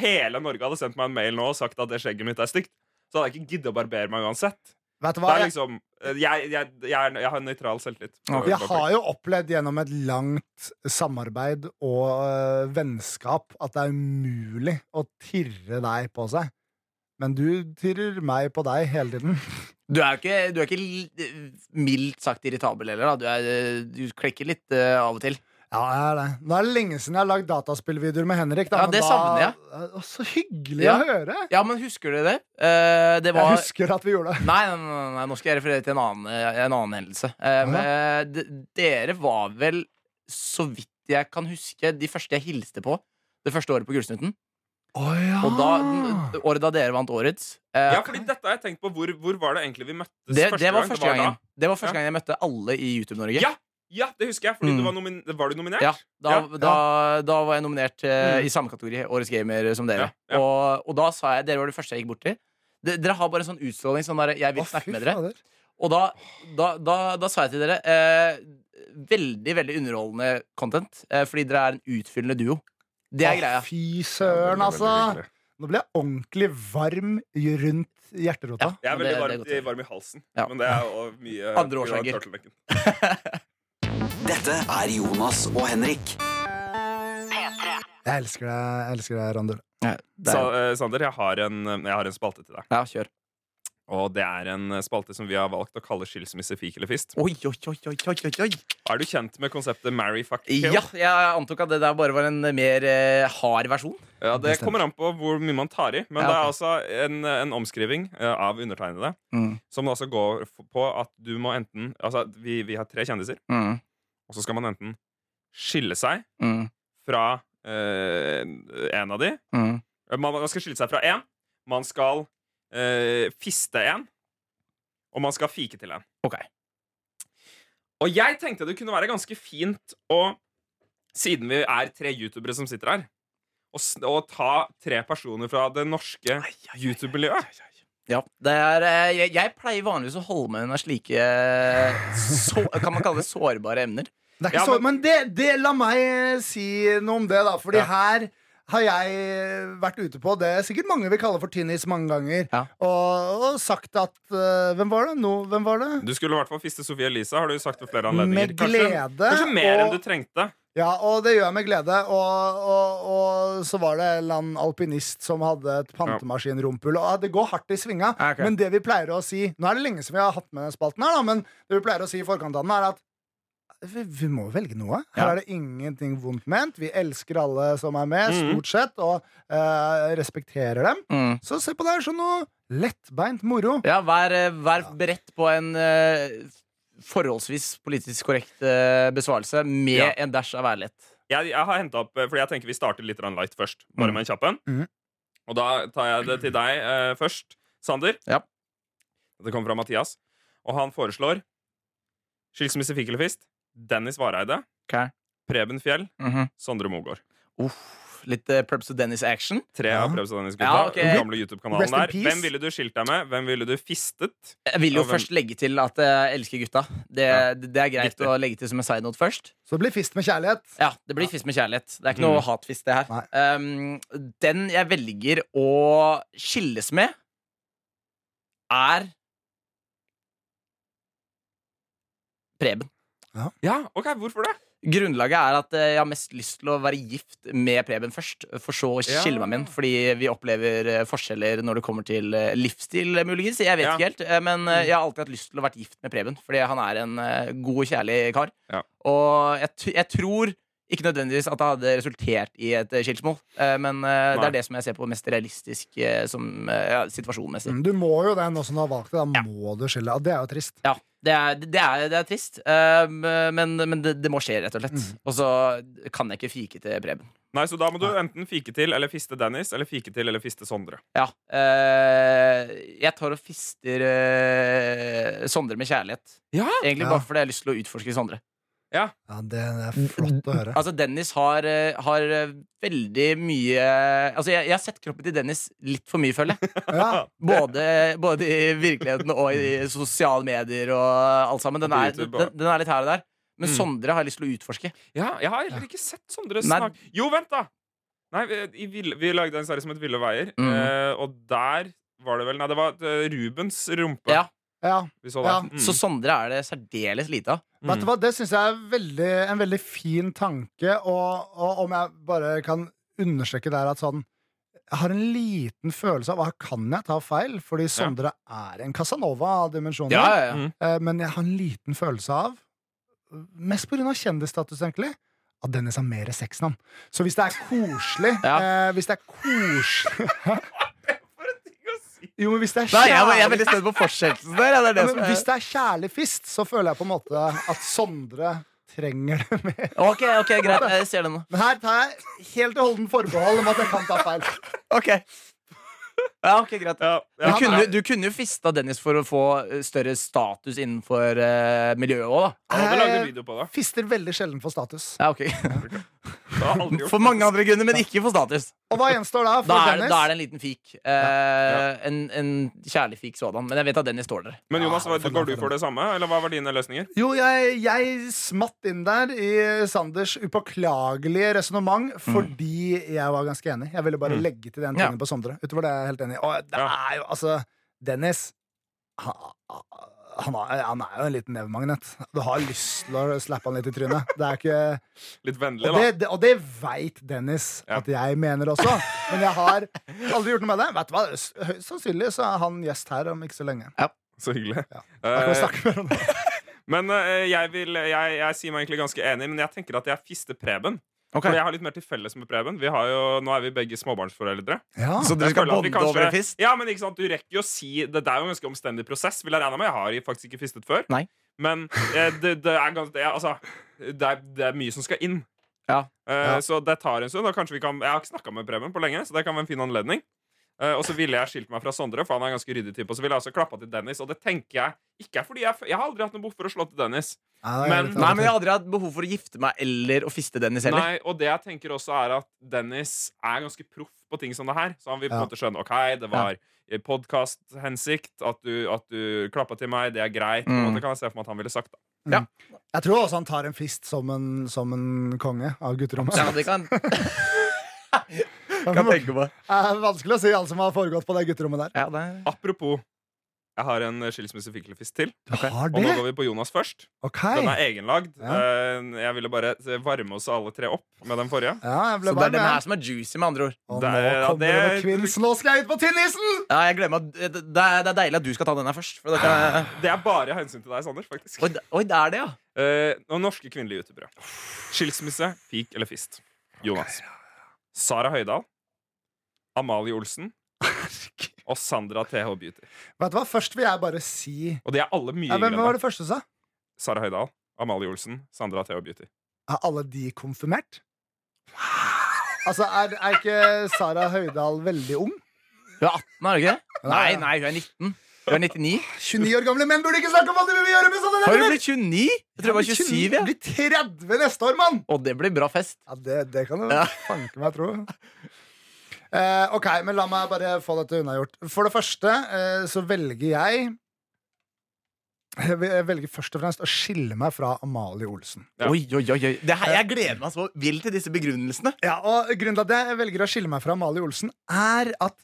[SPEAKER 4] hele Norge hadde sendt meg en mail nå og sagt at det skjegget mitt er stygt, så hadde jeg ikke giddet å barbere meg uansett.
[SPEAKER 2] Vet du
[SPEAKER 4] Det
[SPEAKER 2] hva?
[SPEAKER 4] er liksom eh, Jeg, jeg, jeg, er, jeg har nøytral selvtillit.
[SPEAKER 2] Jeg har jo opplevd gjennom et langt samarbeid og øh, vennskap at det er umulig å tirre deg på seg. Men du tirrer meg på deg hele tiden.
[SPEAKER 3] Du er jo ikke, du er ikke li- mildt sagt irritabel heller. Da. Du, er, eh, du klekker litt eh, av og til.
[SPEAKER 2] Ja, jeg er det. Nå er det lenge siden jeg har lagd dataspillvideoer med Henrik. Da,
[SPEAKER 3] Ja,
[SPEAKER 2] men
[SPEAKER 3] det
[SPEAKER 2] da,
[SPEAKER 3] savner jeg.
[SPEAKER 2] Å, Så hyggelig
[SPEAKER 3] Ja.
[SPEAKER 2] å høre!
[SPEAKER 3] Ja, men husker du det? Eh, det
[SPEAKER 2] Jeg
[SPEAKER 3] var
[SPEAKER 2] husker at vi gjorde det.
[SPEAKER 3] Nei, nei, nei, nei, nei, nå skal jeg referere til en annen, eh, en annen hendelse. Eh, men, eh, d- dere var vel, så vidt jeg kan huske, de første jeg hilste på det første året på Gullsnutten. Og da,
[SPEAKER 2] Ah!
[SPEAKER 3] n- året da dere vant Årets. eh,
[SPEAKER 4] Ja, fordi dette har jeg tenkt på. Hvor, hvor var det egentlig vi møttes
[SPEAKER 3] det,
[SPEAKER 4] første
[SPEAKER 3] det var
[SPEAKER 4] gang?
[SPEAKER 3] første gangen.
[SPEAKER 4] da.
[SPEAKER 3] Det var første
[SPEAKER 4] Ja.
[SPEAKER 3] gangen jeg møtte alle i YouTube-Norge.
[SPEAKER 4] Ja, ja, det husker jeg. Fordi
[SPEAKER 3] Mm.
[SPEAKER 4] du var, nomin var du nominert?
[SPEAKER 3] Ja, da,
[SPEAKER 4] Ja,
[SPEAKER 3] Da, da var jeg nominert eh,
[SPEAKER 4] Mm.
[SPEAKER 3] i samme kategori, Årets gamer, som dere.
[SPEAKER 4] Ja, ja.
[SPEAKER 3] Og, og da sa jeg Dere var det første jeg gikk bort til. De, dere har bare en sånn utstråling sånn der, Jeg vil
[SPEAKER 2] Å, fy
[SPEAKER 3] snakke med dere.
[SPEAKER 2] fader.
[SPEAKER 3] Og da, da, da, da sa jeg til dere eh, Veldig, veldig underholdende content, eh, fordi dere er en utfyllende duo. Det er
[SPEAKER 2] Å,
[SPEAKER 3] greia.
[SPEAKER 2] Fy søren,
[SPEAKER 4] Veldig, veldig
[SPEAKER 2] altså.
[SPEAKER 4] hyggelig.
[SPEAKER 2] Nå ble jeg ordentlig varm i- rundt hjerterota.
[SPEAKER 3] Ja.
[SPEAKER 4] Jeg er
[SPEAKER 3] Men det-
[SPEAKER 4] veldig varm,
[SPEAKER 3] det er godt.
[SPEAKER 4] varm i halsen,
[SPEAKER 3] Ja.
[SPEAKER 4] men det er jo
[SPEAKER 3] [LAUGHS]
[SPEAKER 4] mye
[SPEAKER 3] Andre
[SPEAKER 4] på grunn av
[SPEAKER 3] årsaker.
[SPEAKER 4] turtlenecken.
[SPEAKER 1] Dette er Jonas og Henrik.
[SPEAKER 2] Jeg elsker deg, jeg elsker deg, Randul.
[SPEAKER 3] Ja, det
[SPEAKER 4] Sa,
[SPEAKER 3] er-
[SPEAKER 4] eh, Sander, jeg har, en, jeg har en spalte til deg.
[SPEAKER 3] ja, kjør.
[SPEAKER 4] Og det er en eh, spalte som vi har valgt å kalle Skilsmisse, fik eller fist.
[SPEAKER 3] Oi, oi, oi, oi, oi, oi, oi.
[SPEAKER 4] Er du kjent med konseptet marry, fuck, kill?
[SPEAKER 3] Ja, jeg antok at det der bare var en mer eh, hard versjon.
[SPEAKER 4] Ja, det
[SPEAKER 3] Det stemmer.
[SPEAKER 4] kommer an på hvor mye man tar i. Men
[SPEAKER 3] Ja,
[SPEAKER 4] det er
[SPEAKER 3] ok.
[SPEAKER 4] altså en, en omskriving eh, av undertegnede
[SPEAKER 3] Mm.
[SPEAKER 4] som altså går f- på at du må enten Altså, vi, vi har tre kjendiser,
[SPEAKER 3] Mm.
[SPEAKER 4] og så skal man enten skille seg
[SPEAKER 3] Mm.
[SPEAKER 4] fra eh, en av de
[SPEAKER 3] Mm.
[SPEAKER 4] man, man skal skille seg fra én, man skal eh, fiste én, og man skal fike til én.
[SPEAKER 3] Ok.
[SPEAKER 4] Og jeg tenkte det kunne være ganske fint å Siden vi er tre youtubere som sitter her, å s- å ta tre personer fra det norske YouTube-miljøet.
[SPEAKER 3] Ja, det er, eh, jeg, jeg pleier vanligvis å holde meg unna slike eh, så, Kan man kalle det sårbare emner?
[SPEAKER 2] Det er ikke
[SPEAKER 4] Ja,
[SPEAKER 2] så, men det, det, la meg eh, si noe om det, da. Fordi her har jeg eh, vært ute på det sikkert mange vil kalle for tinnis mange ganger.
[SPEAKER 3] Ja.
[SPEAKER 2] Og, og sagt at eh, Hvem var det? No, hvem var det?
[SPEAKER 4] Du skulle i hvert fall fiste Sofie Elise, har du sagt ved flere anledninger.
[SPEAKER 2] Med glede
[SPEAKER 4] kanskje, kanskje mer
[SPEAKER 2] og-
[SPEAKER 4] enn du trengte.
[SPEAKER 2] Ja, og det gjør jeg med glede. Og, og, og så var det en eller annen alpinist som hadde et pantemaskinrumpull. Og det går hardt i svinga,
[SPEAKER 3] Ja, Ah, ok.
[SPEAKER 2] men det vi pleier å si Nå er det lenge siden vi har hatt med den spalten her, da, men det vi pleier å si i forkant av den, er at vi, vi må velge noe. Her
[SPEAKER 3] Ja.
[SPEAKER 2] er det ingenting vondt ment. Vi elsker alle som er med,
[SPEAKER 4] Mhm.
[SPEAKER 2] stort sett, og eh, respekterer dem.
[SPEAKER 3] Mm.
[SPEAKER 2] Så se på det her som noe lettbeint moro.
[SPEAKER 3] Ja, vær, eh, vær beredt på en eh, forholdsvis politisk korrekt eh, besvarelse med
[SPEAKER 4] Ja.
[SPEAKER 3] en dæsj av ærlighet.
[SPEAKER 4] Jeg, jeg har hentet opp, eh, fordi jeg tenker vi starter litt grann light først. Bare
[SPEAKER 3] Mm.
[SPEAKER 4] med en kjapp en.
[SPEAKER 2] Mhm.
[SPEAKER 4] Og da tar jeg det til deg eh, først, Sander.
[SPEAKER 3] Ja.
[SPEAKER 4] Det kommer fra Mathias. Og han foreslår skilsmisse fikk eller fist. Dennis Vareide.
[SPEAKER 3] Ok.
[SPEAKER 4] Preben Fjell.
[SPEAKER 3] Mhm.
[SPEAKER 4] Sondre Mogård.
[SPEAKER 3] Uff, litt eh, Prebz og Dennis-action.
[SPEAKER 4] Tre
[SPEAKER 2] Ja.
[SPEAKER 4] av Prebz og Dennis-gutta.
[SPEAKER 3] Ja, ok.
[SPEAKER 4] Den gamle YouTube-kanalen
[SPEAKER 2] Rest in
[SPEAKER 4] der.
[SPEAKER 2] peace.
[SPEAKER 4] Hvem ville du skilt deg med? Hvem ville du fistet?
[SPEAKER 3] Jeg vil jo
[SPEAKER 4] Ja, vel.
[SPEAKER 3] først legge til at jeg elsker gutta. Det,
[SPEAKER 4] Ja.
[SPEAKER 3] det det er greit
[SPEAKER 4] Viktig.
[SPEAKER 3] å legge til som en side note først.
[SPEAKER 2] Så det blir fist med kjærlighet.
[SPEAKER 3] Ja, Det blir fist med kjærlighet. Det er ikke noe hatfist, det her. Um, den jeg velger å skilles med, er Preben.
[SPEAKER 4] Ja, ok, hvorfor det?
[SPEAKER 3] Grunnlaget er at eh, jeg har mest lyst til å være gift med Preben først, for så å
[SPEAKER 4] Ja.
[SPEAKER 3] skille meg med ham. Fordi vi opplever eh, forskjeller når det kommer til eh, livsstil, eh, muligens. Jeg vet
[SPEAKER 4] Ja. Mm.
[SPEAKER 3] ikke helt, eh, men eh, jeg har alltid hatt lyst til å være gift med Preben, fordi han er en eh, god og kjærlig kar.
[SPEAKER 4] Ja.
[SPEAKER 3] Og jeg, t jeg tror ikke nødvendigvis at det hadde resultert i et eh, skilsmål, eh, men eh, det
[SPEAKER 4] Nei.
[SPEAKER 3] er det som jeg ser på mest realistisk eh, som, eh, ja, situasjonmessig.
[SPEAKER 2] Mm, Du må jo det nå som du har valgt det. Da må du skille. Og det er jo trist.
[SPEAKER 3] Ja, det er, det er, det er trist, eh, men, men det, det må skje, rett og slett.
[SPEAKER 4] Mm.
[SPEAKER 3] Og så kan jeg ikke fike til Preben.
[SPEAKER 4] Nei, så da må du enten fike til eller fiste Dennis, eller fike til eller fiste Sondre.
[SPEAKER 3] Ja. eh, jeg tar og fister eh, Sondre med kjærlighet.
[SPEAKER 4] Ja?
[SPEAKER 3] Egentlig
[SPEAKER 2] Ja.
[SPEAKER 3] bare fordi jeg har lyst til å utforske Sondre.
[SPEAKER 2] Ja, det er flott
[SPEAKER 3] [LAUGHS]
[SPEAKER 2] å høre.
[SPEAKER 3] Altså Dennis har, eh, har eh, veldig mye Altså jeg, jeg har sett kroppen til Dennis litt for mye, føler jeg.
[SPEAKER 2] Ja.
[SPEAKER 3] Både, [LAUGHS] både i virkeligheten og i sosiale medier og alt sammen. Den
[SPEAKER 4] Og på
[SPEAKER 3] er, den,
[SPEAKER 4] YouTube, ja.
[SPEAKER 3] den er litt her og der. Men
[SPEAKER 4] Mm.
[SPEAKER 3] Sondre har jeg lyst til å utforske.
[SPEAKER 4] Ja, jeg har heller ikke sett Sondre
[SPEAKER 3] Nei.
[SPEAKER 4] snakke Jo, vent, da! Nei, vi, i Ville- vi lagde en serie som het Ville veier,
[SPEAKER 3] Mm.
[SPEAKER 4] eh, og der var det vel Nei, det var eh, Rubens rumpe
[SPEAKER 3] Ja,
[SPEAKER 2] Ja.
[SPEAKER 4] vi så
[SPEAKER 2] Ja,
[SPEAKER 4] der. Mm.
[SPEAKER 3] Så Sondre er det særdeles lite av.
[SPEAKER 2] Vet du hva, Det syns jeg er veldig, en veldig fin tanke, og, og om jeg bare kan understreke der at sånn Jeg har en liten følelse av Her kan jeg ta feil, fordi Sondre er en Casanova av dimensjoner.
[SPEAKER 3] Ja, ja, ja.
[SPEAKER 4] Mm.
[SPEAKER 2] Eh, Men jeg har en liten følelse av, mest pga. kjendisstatus, egentlig, at Dennis har mer sex enn han. Så hvis det er koselig
[SPEAKER 3] Ja.
[SPEAKER 2] eh, Hvis det er
[SPEAKER 3] [LAUGHS]
[SPEAKER 2] koselig
[SPEAKER 4] For en ting å si!
[SPEAKER 2] Jo, men hvis det er
[SPEAKER 3] Nei, jeg, var- jeg er
[SPEAKER 2] kjærlig
[SPEAKER 3] veldig spent på fortsettelsen der. Ja, eh, det er det
[SPEAKER 2] Ja,
[SPEAKER 3] som
[SPEAKER 2] men
[SPEAKER 3] er-
[SPEAKER 2] hvis det er kjærlig fist, så føler jeg på en måte at Sondre trenger det mer.
[SPEAKER 3] Ok, ok, greit. Jeg ser det nå.
[SPEAKER 2] Men her tar jeg helt og holdent forbehold om at jeg kan ta feil.
[SPEAKER 3] Ok [LAUGHS] Ja, ok, greit
[SPEAKER 4] Ja,
[SPEAKER 3] du
[SPEAKER 4] ja,
[SPEAKER 3] kunne,
[SPEAKER 4] ja.
[SPEAKER 3] du kunne jo fista Dennis for å få eh, større status innenfor eh, miljøet òg, da.
[SPEAKER 4] Han hadde lagd en
[SPEAKER 2] Jeg
[SPEAKER 4] video på det.
[SPEAKER 2] Fister veldig sjelden for status.
[SPEAKER 3] Ja, ok
[SPEAKER 4] Det har jeg aldri gjort.
[SPEAKER 3] [LAUGHS] For mange andre grunner, men ikke for status.
[SPEAKER 2] Og hva gjenstår da for
[SPEAKER 3] Da er, det-
[SPEAKER 2] Dennis?
[SPEAKER 3] da er det en liten fik. Eh, En, en kjærlig fik sådan. Men jeg vet at Dennis tåler det.
[SPEAKER 4] Men Jonas,
[SPEAKER 2] Ja,
[SPEAKER 4] hva-
[SPEAKER 2] for
[SPEAKER 4] går du
[SPEAKER 2] mange.
[SPEAKER 4] for det samme, eller hva var dine løsninger?
[SPEAKER 2] Jo, jeg, jeg smatt inn der i Sanders upåklagelige resonnement fordi jeg var ganske enig. Jeg ville bare
[SPEAKER 4] Mm.
[SPEAKER 2] legge til den
[SPEAKER 3] Mm. Ja.
[SPEAKER 2] tingen på Sondre. Utover det er jeg helt enig. i. Og det
[SPEAKER 4] Ja.
[SPEAKER 2] er jo, altså, Dennis han, han, er, han er jo en liten nevemagnet. Du har lyst til å slappe han litt i trynet. Det er ikke
[SPEAKER 4] Litt vennlig,
[SPEAKER 2] Og det,
[SPEAKER 4] da.
[SPEAKER 2] det, og det veit Dennis
[SPEAKER 4] Ja.
[SPEAKER 2] at jeg mener også, men jeg har aldri gjort noe med det. Vet du hva? S- Høyst sannsynlig så er han gjest her om ikke så lenge.
[SPEAKER 4] Så hyggelig.
[SPEAKER 2] Ja. Da kan vi
[SPEAKER 4] Eh,
[SPEAKER 2] snakke mer om det.
[SPEAKER 4] men eh, jeg, vil, jeg, jeg sier meg egentlig ganske enig, men jeg tenker at jeg fister Preben.
[SPEAKER 3] Ok
[SPEAKER 4] For jeg har litt mer til felles med Preben. Vi har jo, nå er vi begge småbarnsforeldre.
[SPEAKER 2] Ja.
[SPEAKER 3] Så dere
[SPEAKER 4] Jeg
[SPEAKER 3] skal
[SPEAKER 4] føler
[SPEAKER 3] bonde
[SPEAKER 4] at vi kanskje-
[SPEAKER 3] over en fist?
[SPEAKER 4] Ja, men ikke sant, du rekker jo å si Det er jo en ganske omstendig prosess, vil jeg regne med. Jeg har faktisk ikke fistet før.
[SPEAKER 3] Nei.
[SPEAKER 4] Men eh, det, det er ganske det, er- Altså, det er, det er mye som skal inn.
[SPEAKER 3] Ja.
[SPEAKER 4] Eh,
[SPEAKER 2] Ja.
[SPEAKER 4] Så det tar en stund. Og kanskje vi kan Jeg har ikke snakka med Preben på lenge, så det kan være en fin anledning. Eh, og så ville jeg skilt meg fra Sondre, for han er en ganske ryddig type. Og så ville jeg også klappa til Dennis, og det tenker jeg Ikke er fordi jeg, jeg har aldri hatt noe behov for å slå til Dennis.
[SPEAKER 2] Nei, det er
[SPEAKER 4] Men-
[SPEAKER 2] litt
[SPEAKER 3] Nei, men jeg
[SPEAKER 2] annet.
[SPEAKER 3] har aldri hatt behov for å gifte meg eller å fiste Dennis heller.
[SPEAKER 4] Nei, og det jeg tenker også er at Dennis er ganske proff på ting som det her. Så han vil på en
[SPEAKER 2] Ja.
[SPEAKER 4] måte skjønne Ok, det var ja. podkasthensikt, at du, at du klappa til meg, det er greit. På en
[SPEAKER 3] Mm.
[SPEAKER 4] måte kan jeg se for meg at han ville sagt da.
[SPEAKER 2] Jeg tror også han tar en fist som en, som en konge av gutterommet. [LAUGHS]
[SPEAKER 3] Ja, det kan, kan jeg
[SPEAKER 2] det
[SPEAKER 3] tenke på.
[SPEAKER 2] er vanskelig å si alt som har foregått på det gutterommet der.
[SPEAKER 3] Ja, det er...
[SPEAKER 4] Apropos, jeg har en skilsmissefiklefist til.
[SPEAKER 2] Du har
[SPEAKER 4] Og nå
[SPEAKER 2] det?
[SPEAKER 4] går vi på Jonas først.
[SPEAKER 2] Ok.
[SPEAKER 4] Den er egenlagd.
[SPEAKER 2] Ja.
[SPEAKER 4] Eh, Jeg ville bare varme oss alle tre opp med den forrige.
[SPEAKER 2] Ja,
[SPEAKER 3] Så
[SPEAKER 2] jeg ble
[SPEAKER 3] det er
[SPEAKER 2] varm,
[SPEAKER 3] den her
[SPEAKER 2] jeg.
[SPEAKER 3] som er juicy, med andre ord.
[SPEAKER 2] Og
[SPEAKER 4] Det
[SPEAKER 2] nå
[SPEAKER 4] er- ja,
[SPEAKER 2] kommer det
[SPEAKER 4] det
[SPEAKER 2] noe
[SPEAKER 4] er-
[SPEAKER 2] kvinns. Nå skal jeg ut på tinnisen!
[SPEAKER 3] Ja, jeg glemmer at det, det, er, det er deilig at du skal ta den her først. For da kan jeg...
[SPEAKER 4] Det er bare av hensyn til deg, Sander. faktisk
[SPEAKER 3] oi, det- oi, det er det, ja.
[SPEAKER 4] Eh, Og norske kvinnelige youtubere. Skilsmisse, pik eller fist. Jonas. Sara Høydahl. Amalie Olsen. Og Sandra TH Beauty.
[SPEAKER 2] Vet du hva, Først vil jeg bare si ja,
[SPEAKER 4] Og de er alle mye
[SPEAKER 2] Hvem
[SPEAKER 4] yngre
[SPEAKER 2] var
[SPEAKER 4] enn deg.
[SPEAKER 2] det første du sa?
[SPEAKER 4] Sara Høydahl, Amalie Olsen, Sandra TH Beauty.
[SPEAKER 2] Er alle de konfirmert? Altså, er, er ikke Sara Høydahl veldig ung?
[SPEAKER 3] Hun er 18, er hun ikke det?
[SPEAKER 2] Ja.
[SPEAKER 3] Nei, nei, hun er 19. Hun er 99.
[SPEAKER 2] 29 år gamle menn burde ikke snakke om hva de vil gjøre med sånne
[SPEAKER 3] Har hun
[SPEAKER 2] nerver!
[SPEAKER 3] blitt 29? Jeg tror jeg var 27. jeg.
[SPEAKER 2] Blir 30 neste år, mann!
[SPEAKER 3] Og det blir bra fest.
[SPEAKER 2] Ja, det, det kan du
[SPEAKER 3] Ja.
[SPEAKER 2] fanke meg tro. Eh, ok, men la meg bare få dette unnagjort. For det første eh, så velger jeg Jeg vel- jeg velger først og fremst å skille meg fra Amalie Olsen.
[SPEAKER 4] Ja.
[SPEAKER 3] Oi, oi, oi, oi. Det her, Jeg gleder meg så vilt til disse begrunnelsene.
[SPEAKER 2] Ja, og Grunnen til at jeg velger å skille meg fra Amalie Olsen, er at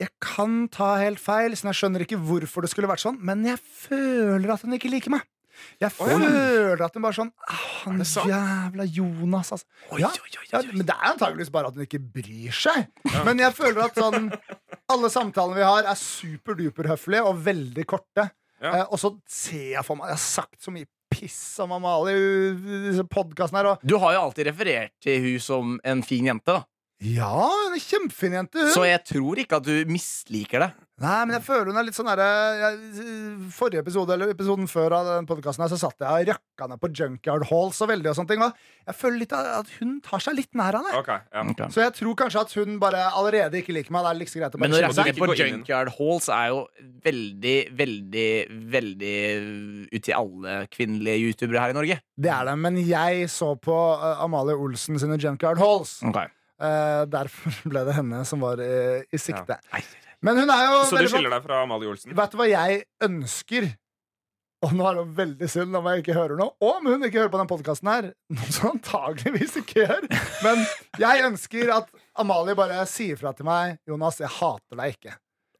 [SPEAKER 2] jeg kan ta helt feil, så jeg skjønner ikke hvorfor det skulle vært sånn, men jeg føler at hun ikke liker meg. Jeg
[SPEAKER 4] ja.
[SPEAKER 2] føler at hun bare sånn «Ah, Han
[SPEAKER 4] Er det sant?
[SPEAKER 2] jævla Jonas, altså.
[SPEAKER 3] Oi,
[SPEAKER 2] Ja.
[SPEAKER 3] oi, oi, oi,
[SPEAKER 2] Ja,
[SPEAKER 3] oi.
[SPEAKER 2] men det er antageligvis bare at hun ikke bryr seg. Men jeg føler at sånn alle samtalene vi har, er superduper høflige og veldig korte.
[SPEAKER 4] Ja.
[SPEAKER 2] Eh, og så ser jeg for meg Jeg har sagt så mye piss om Amalie i disse podkastene her, og
[SPEAKER 3] Du har jo alltid referert til hun som en fin jente, da.
[SPEAKER 2] Ja, hun er kjempefin jente, hun.
[SPEAKER 3] Så jeg tror ikke at du misliker det.
[SPEAKER 2] Nei, men jeg føler hun er litt sånn derre jeg- Forrige episode, eller episoden før av den podkasten her, så satt jeg og rakka ned på Junkyard Halls og veldig og sånne ting, og jeg føler litt at hun tar seg litt nær av det.
[SPEAKER 4] Ok, ja
[SPEAKER 3] Ok.
[SPEAKER 2] Så jeg tror kanskje at hun bare allerede ikke liker meg. Det er liksom greit å bare
[SPEAKER 3] Men å
[SPEAKER 2] skille
[SPEAKER 4] skjønner
[SPEAKER 3] rakke
[SPEAKER 4] at du
[SPEAKER 3] ned på
[SPEAKER 4] ikke går inn i den.
[SPEAKER 3] junkyard halls er jo veldig, veldig, veldig ut til alle kvinnelige youtubere her i Norge.
[SPEAKER 2] Det er det, men jeg så på eh, Amalie Olsen sine Junkard Halls.
[SPEAKER 3] Mm.
[SPEAKER 2] Eh, derfor [LAUGHS] ble det henne som var eh, i sikte.
[SPEAKER 3] Nei.
[SPEAKER 2] Men hun er jo
[SPEAKER 4] Så du
[SPEAKER 2] veldig
[SPEAKER 4] skiller deg fra Amalie Olsen?
[SPEAKER 2] Vet du hva jeg ønsker? Og nå er det veldig synd om jeg ikke hører noe. Og om hun ikke hører på den podkasten her, noe som antageligvis ikke gjør. Men jeg ønsker at Amalie bare sier fra til meg Jonas, jeg hater deg ikke.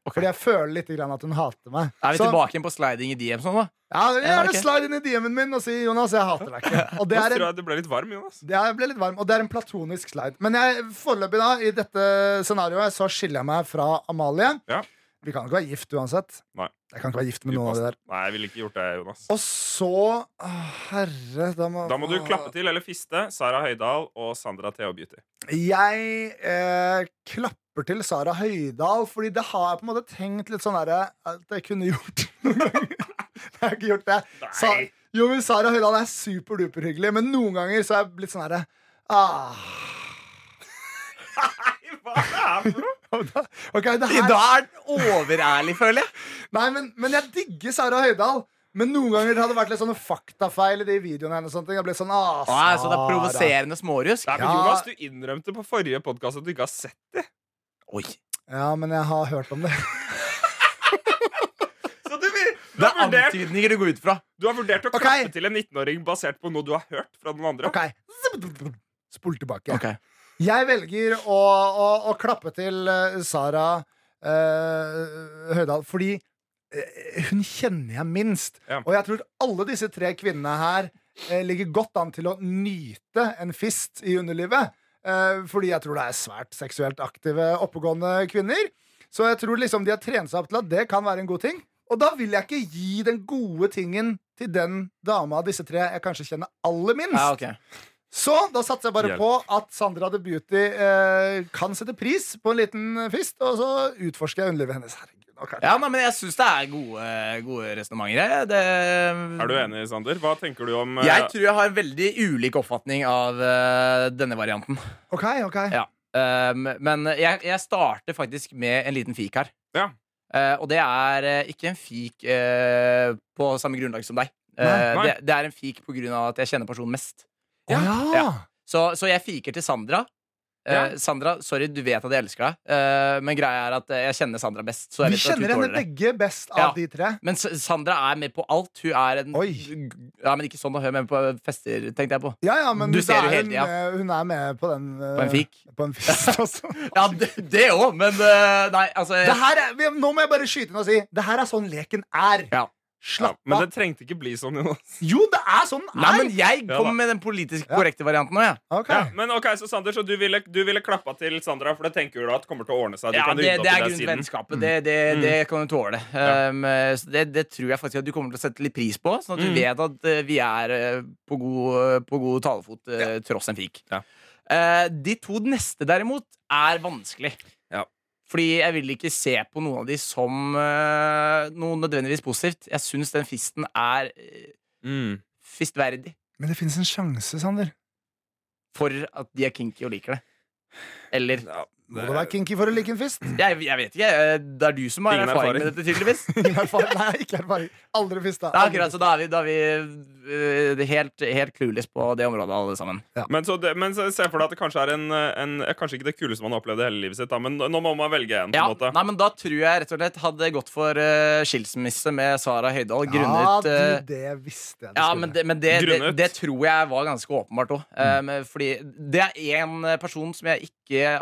[SPEAKER 2] Fordi jeg føler litt grann at hun hater meg.
[SPEAKER 3] Er vi
[SPEAKER 2] Så-
[SPEAKER 3] tilbake igjen på sliding i DM sånn, da?
[SPEAKER 2] Ja, gjerne
[SPEAKER 3] ok.
[SPEAKER 2] slide inn i DM-en min og si Jonas, jeg hater deg ikke. Og det
[SPEAKER 4] Nå
[SPEAKER 2] er en
[SPEAKER 4] tror jeg du ble litt varm, Jonas.
[SPEAKER 2] Det er- ble litt varm, og det er en platonisk slide. Men jeg, foreløpig, da, i dette scenarioet, så skiller jeg meg fra Amalie.
[SPEAKER 4] Ja.
[SPEAKER 2] Vi kan ikke være gift uansett.
[SPEAKER 4] Nei.
[SPEAKER 2] Jeg kan ikke være gift med noen av de der.
[SPEAKER 4] Nei, jeg ville ikke gjort det, Jonas.
[SPEAKER 2] Og så å, Herre, da må
[SPEAKER 4] Da må du klappe til eller fiste Sara Høydahl og Sandra TH Beauty.
[SPEAKER 2] Jeg eh, klapper til Sara Høydahl, fordi det har jeg på en måte tenkt litt sånn derre At jeg kunne gjort [LAUGHS] noen ganger. Jeg har ikke gjort det. Sa,
[SPEAKER 4] Nei.
[SPEAKER 2] jo, men Sara Høydahl er superduper hyggelig, men noen ganger så er jeg blitt sånn herre ah. [LAUGHS]
[SPEAKER 4] Nei, hva er det for noe?
[SPEAKER 2] Ok, det her
[SPEAKER 3] Da er den overærlig, føler jeg.
[SPEAKER 2] Nei, men, men jeg digger Sara Høydahl. Men noen ganger har det vært litt sånne faktafeil i de videoene hennes. og sånne ting. Jeg ble sånn, ah,
[SPEAKER 3] Å,
[SPEAKER 2] Sara.
[SPEAKER 3] så det er provoserende smårusk?
[SPEAKER 4] Nei, men
[SPEAKER 2] Ja.
[SPEAKER 4] Jonas, du innrømte på forrige podkast at du ikke har sett det.
[SPEAKER 3] Oi.
[SPEAKER 2] Ja, men jeg har hørt om det.
[SPEAKER 4] Så du, vil- du,
[SPEAKER 3] Det
[SPEAKER 4] har
[SPEAKER 3] er
[SPEAKER 4] vurdert,
[SPEAKER 3] antydninger du går ut fra.
[SPEAKER 4] du har vurdert å
[SPEAKER 2] Ok.
[SPEAKER 4] klappe til en 19-åring basert på noe du har hørt fra den [LAUGHS] andre.
[SPEAKER 2] Ok, Spol tilbake.
[SPEAKER 3] [LAUGHS] Ok.
[SPEAKER 2] Jeg velger å, å, å klappe til eh, Sara eh, Høydahl, fordi eh, hun kjenner jeg minst.
[SPEAKER 4] Ja.
[SPEAKER 2] Og jeg tror alle disse tre kvinnene her eh, ligger godt an til å nyte en fist i underlivet. eh, fordi jeg tror det er svært seksuelt aktive, oppegående kvinner. Så jeg tror liksom de har trent seg opp til at det kan være en god ting. Og da vil jeg ikke gi den gode tingen til den dama av disse tre jeg kanskje kjenner aller minst.
[SPEAKER 3] Ja, ok.
[SPEAKER 2] Så da satser jeg bare
[SPEAKER 4] Hjelp.
[SPEAKER 2] på at Sandra The Beauty eh, kan sette pris på en liten fist, og så utforsker jeg underlivet hennes. Herregud, nå kan jeg-
[SPEAKER 3] Ja, nei, men jeg syns det er gode, gode resonnementer. jeg. Det-
[SPEAKER 4] Er du enig, Sander? Hva tenker du om eh,
[SPEAKER 3] Jeg tror jeg har en veldig ulik oppfatning av eh, denne varianten. Ehm,
[SPEAKER 2] Ok, ok.
[SPEAKER 3] Ja. Um, men jeg, jeg starter faktisk med en liten fik her.
[SPEAKER 4] Ja.
[SPEAKER 3] Eh, og det er eh, ikke en fik eh, på samme grunnlag som deg. Eh,
[SPEAKER 4] Nei, nei.
[SPEAKER 3] Det, det er en fik på grunn av at jeg kjenner personen mest.
[SPEAKER 4] Ja.
[SPEAKER 5] ja.
[SPEAKER 3] Så, så jeg fiker til Sandra. Eh,
[SPEAKER 4] Ja.
[SPEAKER 3] Sandra, sorry, du vet at jeg elsker deg, eh, men greia er at eh, jeg kjenner Sandra best. Så jeg
[SPEAKER 2] Vi
[SPEAKER 3] vet at hun
[SPEAKER 2] kjenner henne
[SPEAKER 3] tåler det.
[SPEAKER 2] begge best
[SPEAKER 3] Ja.
[SPEAKER 2] av de tre.
[SPEAKER 3] Men S- Sandra er med på alt. Hun er en
[SPEAKER 2] Oi.
[SPEAKER 3] Ja, men ikke sånn da, hun er med på fester, tenkte jeg på.
[SPEAKER 2] Ja, ja, men
[SPEAKER 3] Du
[SPEAKER 2] det
[SPEAKER 3] ser jo
[SPEAKER 2] er
[SPEAKER 3] hele
[SPEAKER 2] hun,
[SPEAKER 3] tida.
[SPEAKER 2] eh, hun er med på den eh,
[SPEAKER 3] På en fik.
[SPEAKER 2] På
[SPEAKER 3] [LAUGHS]
[SPEAKER 2] en fest også.
[SPEAKER 3] Ja, det- det òg, men eh, Nei, altså
[SPEAKER 2] det her er, vi- nå må jeg bare skyte inn og si det her er sånn leken er.
[SPEAKER 3] Ja.
[SPEAKER 4] Ja,
[SPEAKER 2] Slapp
[SPEAKER 4] men
[SPEAKER 2] av.
[SPEAKER 4] det trengte ikke bli sånn, Jonas.
[SPEAKER 2] Jo, det er sånn den
[SPEAKER 3] Nei,
[SPEAKER 2] er.
[SPEAKER 3] men jeg
[SPEAKER 4] Ja, da.
[SPEAKER 3] kommer med den politisk
[SPEAKER 2] Ja.
[SPEAKER 3] korrekte varianten nå, jeg.
[SPEAKER 2] Ok.
[SPEAKER 4] Ja, men ok, Så Sander, så du ville, du ville klappa til Sandra, for det tenker du da at kommer til å ordne seg? Du
[SPEAKER 3] Ja,
[SPEAKER 4] kan
[SPEAKER 3] det,
[SPEAKER 4] rydde
[SPEAKER 3] det
[SPEAKER 4] opp
[SPEAKER 3] er
[SPEAKER 4] i det siden. Mm.
[SPEAKER 3] grunnvennskapet. Det, det, det kan du tåle. Um, så det, det tror jeg faktisk at du kommer til å sette litt pris på, sånn at du
[SPEAKER 4] Mm.
[SPEAKER 3] vet at eh, vi er eh, på god, på god talefot eh, tross en fik.
[SPEAKER 4] Ja.
[SPEAKER 3] Eh, de to neste, derimot, er vanskelig.
[SPEAKER 4] Ja.
[SPEAKER 3] Fordi jeg vil ikke se på noen av de som eh, noe nødvendigvis positivt. Jeg syns den fisten er eh,
[SPEAKER 4] Mm.
[SPEAKER 3] fistverdig
[SPEAKER 2] Men det fins en sjanse, Sander.
[SPEAKER 3] for at de er kinky og liker det. Eller
[SPEAKER 4] Ja,
[SPEAKER 2] Må du være kinky for å like en [LAUGHS] fist?
[SPEAKER 3] jeg, jeg vet ikke. eh, Det er du som har
[SPEAKER 4] Ingen
[SPEAKER 3] erfaring
[SPEAKER 4] erfaring.
[SPEAKER 3] med dette, tydeligvis.
[SPEAKER 4] [LAUGHS]
[SPEAKER 2] Ingen erfaring. Nei, ikke erfaring. Aldri fista.
[SPEAKER 3] Det er akkurat, så da er vi, da er vi øh, det er helt, helt clueless på det området, alle sammen.
[SPEAKER 4] Men, så det, men se se for deg at det kanskje er en, en Kanskje ikke det kuleste man har opplevd i hele livet sitt, da, men nå må man velge en. på
[SPEAKER 3] Ja,
[SPEAKER 4] en måte
[SPEAKER 3] nei, men Da tror jeg rett og slett hadde gått for øh, skilsmisse med Sara Høydahl.
[SPEAKER 2] Ja,
[SPEAKER 3] Grunnet øh,
[SPEAKER 2] du, det visste jeg du
[SPEAKER 3] ja,
[SPEAKER 2] skulle.
[SPEAKER 3] men, det, men det, det,
[SPEAKER 4] Grunnet? Mm.
[SPEAKER 3] det tror jeg var ganske åpenbart òg. fordi det er én person som jeg ikke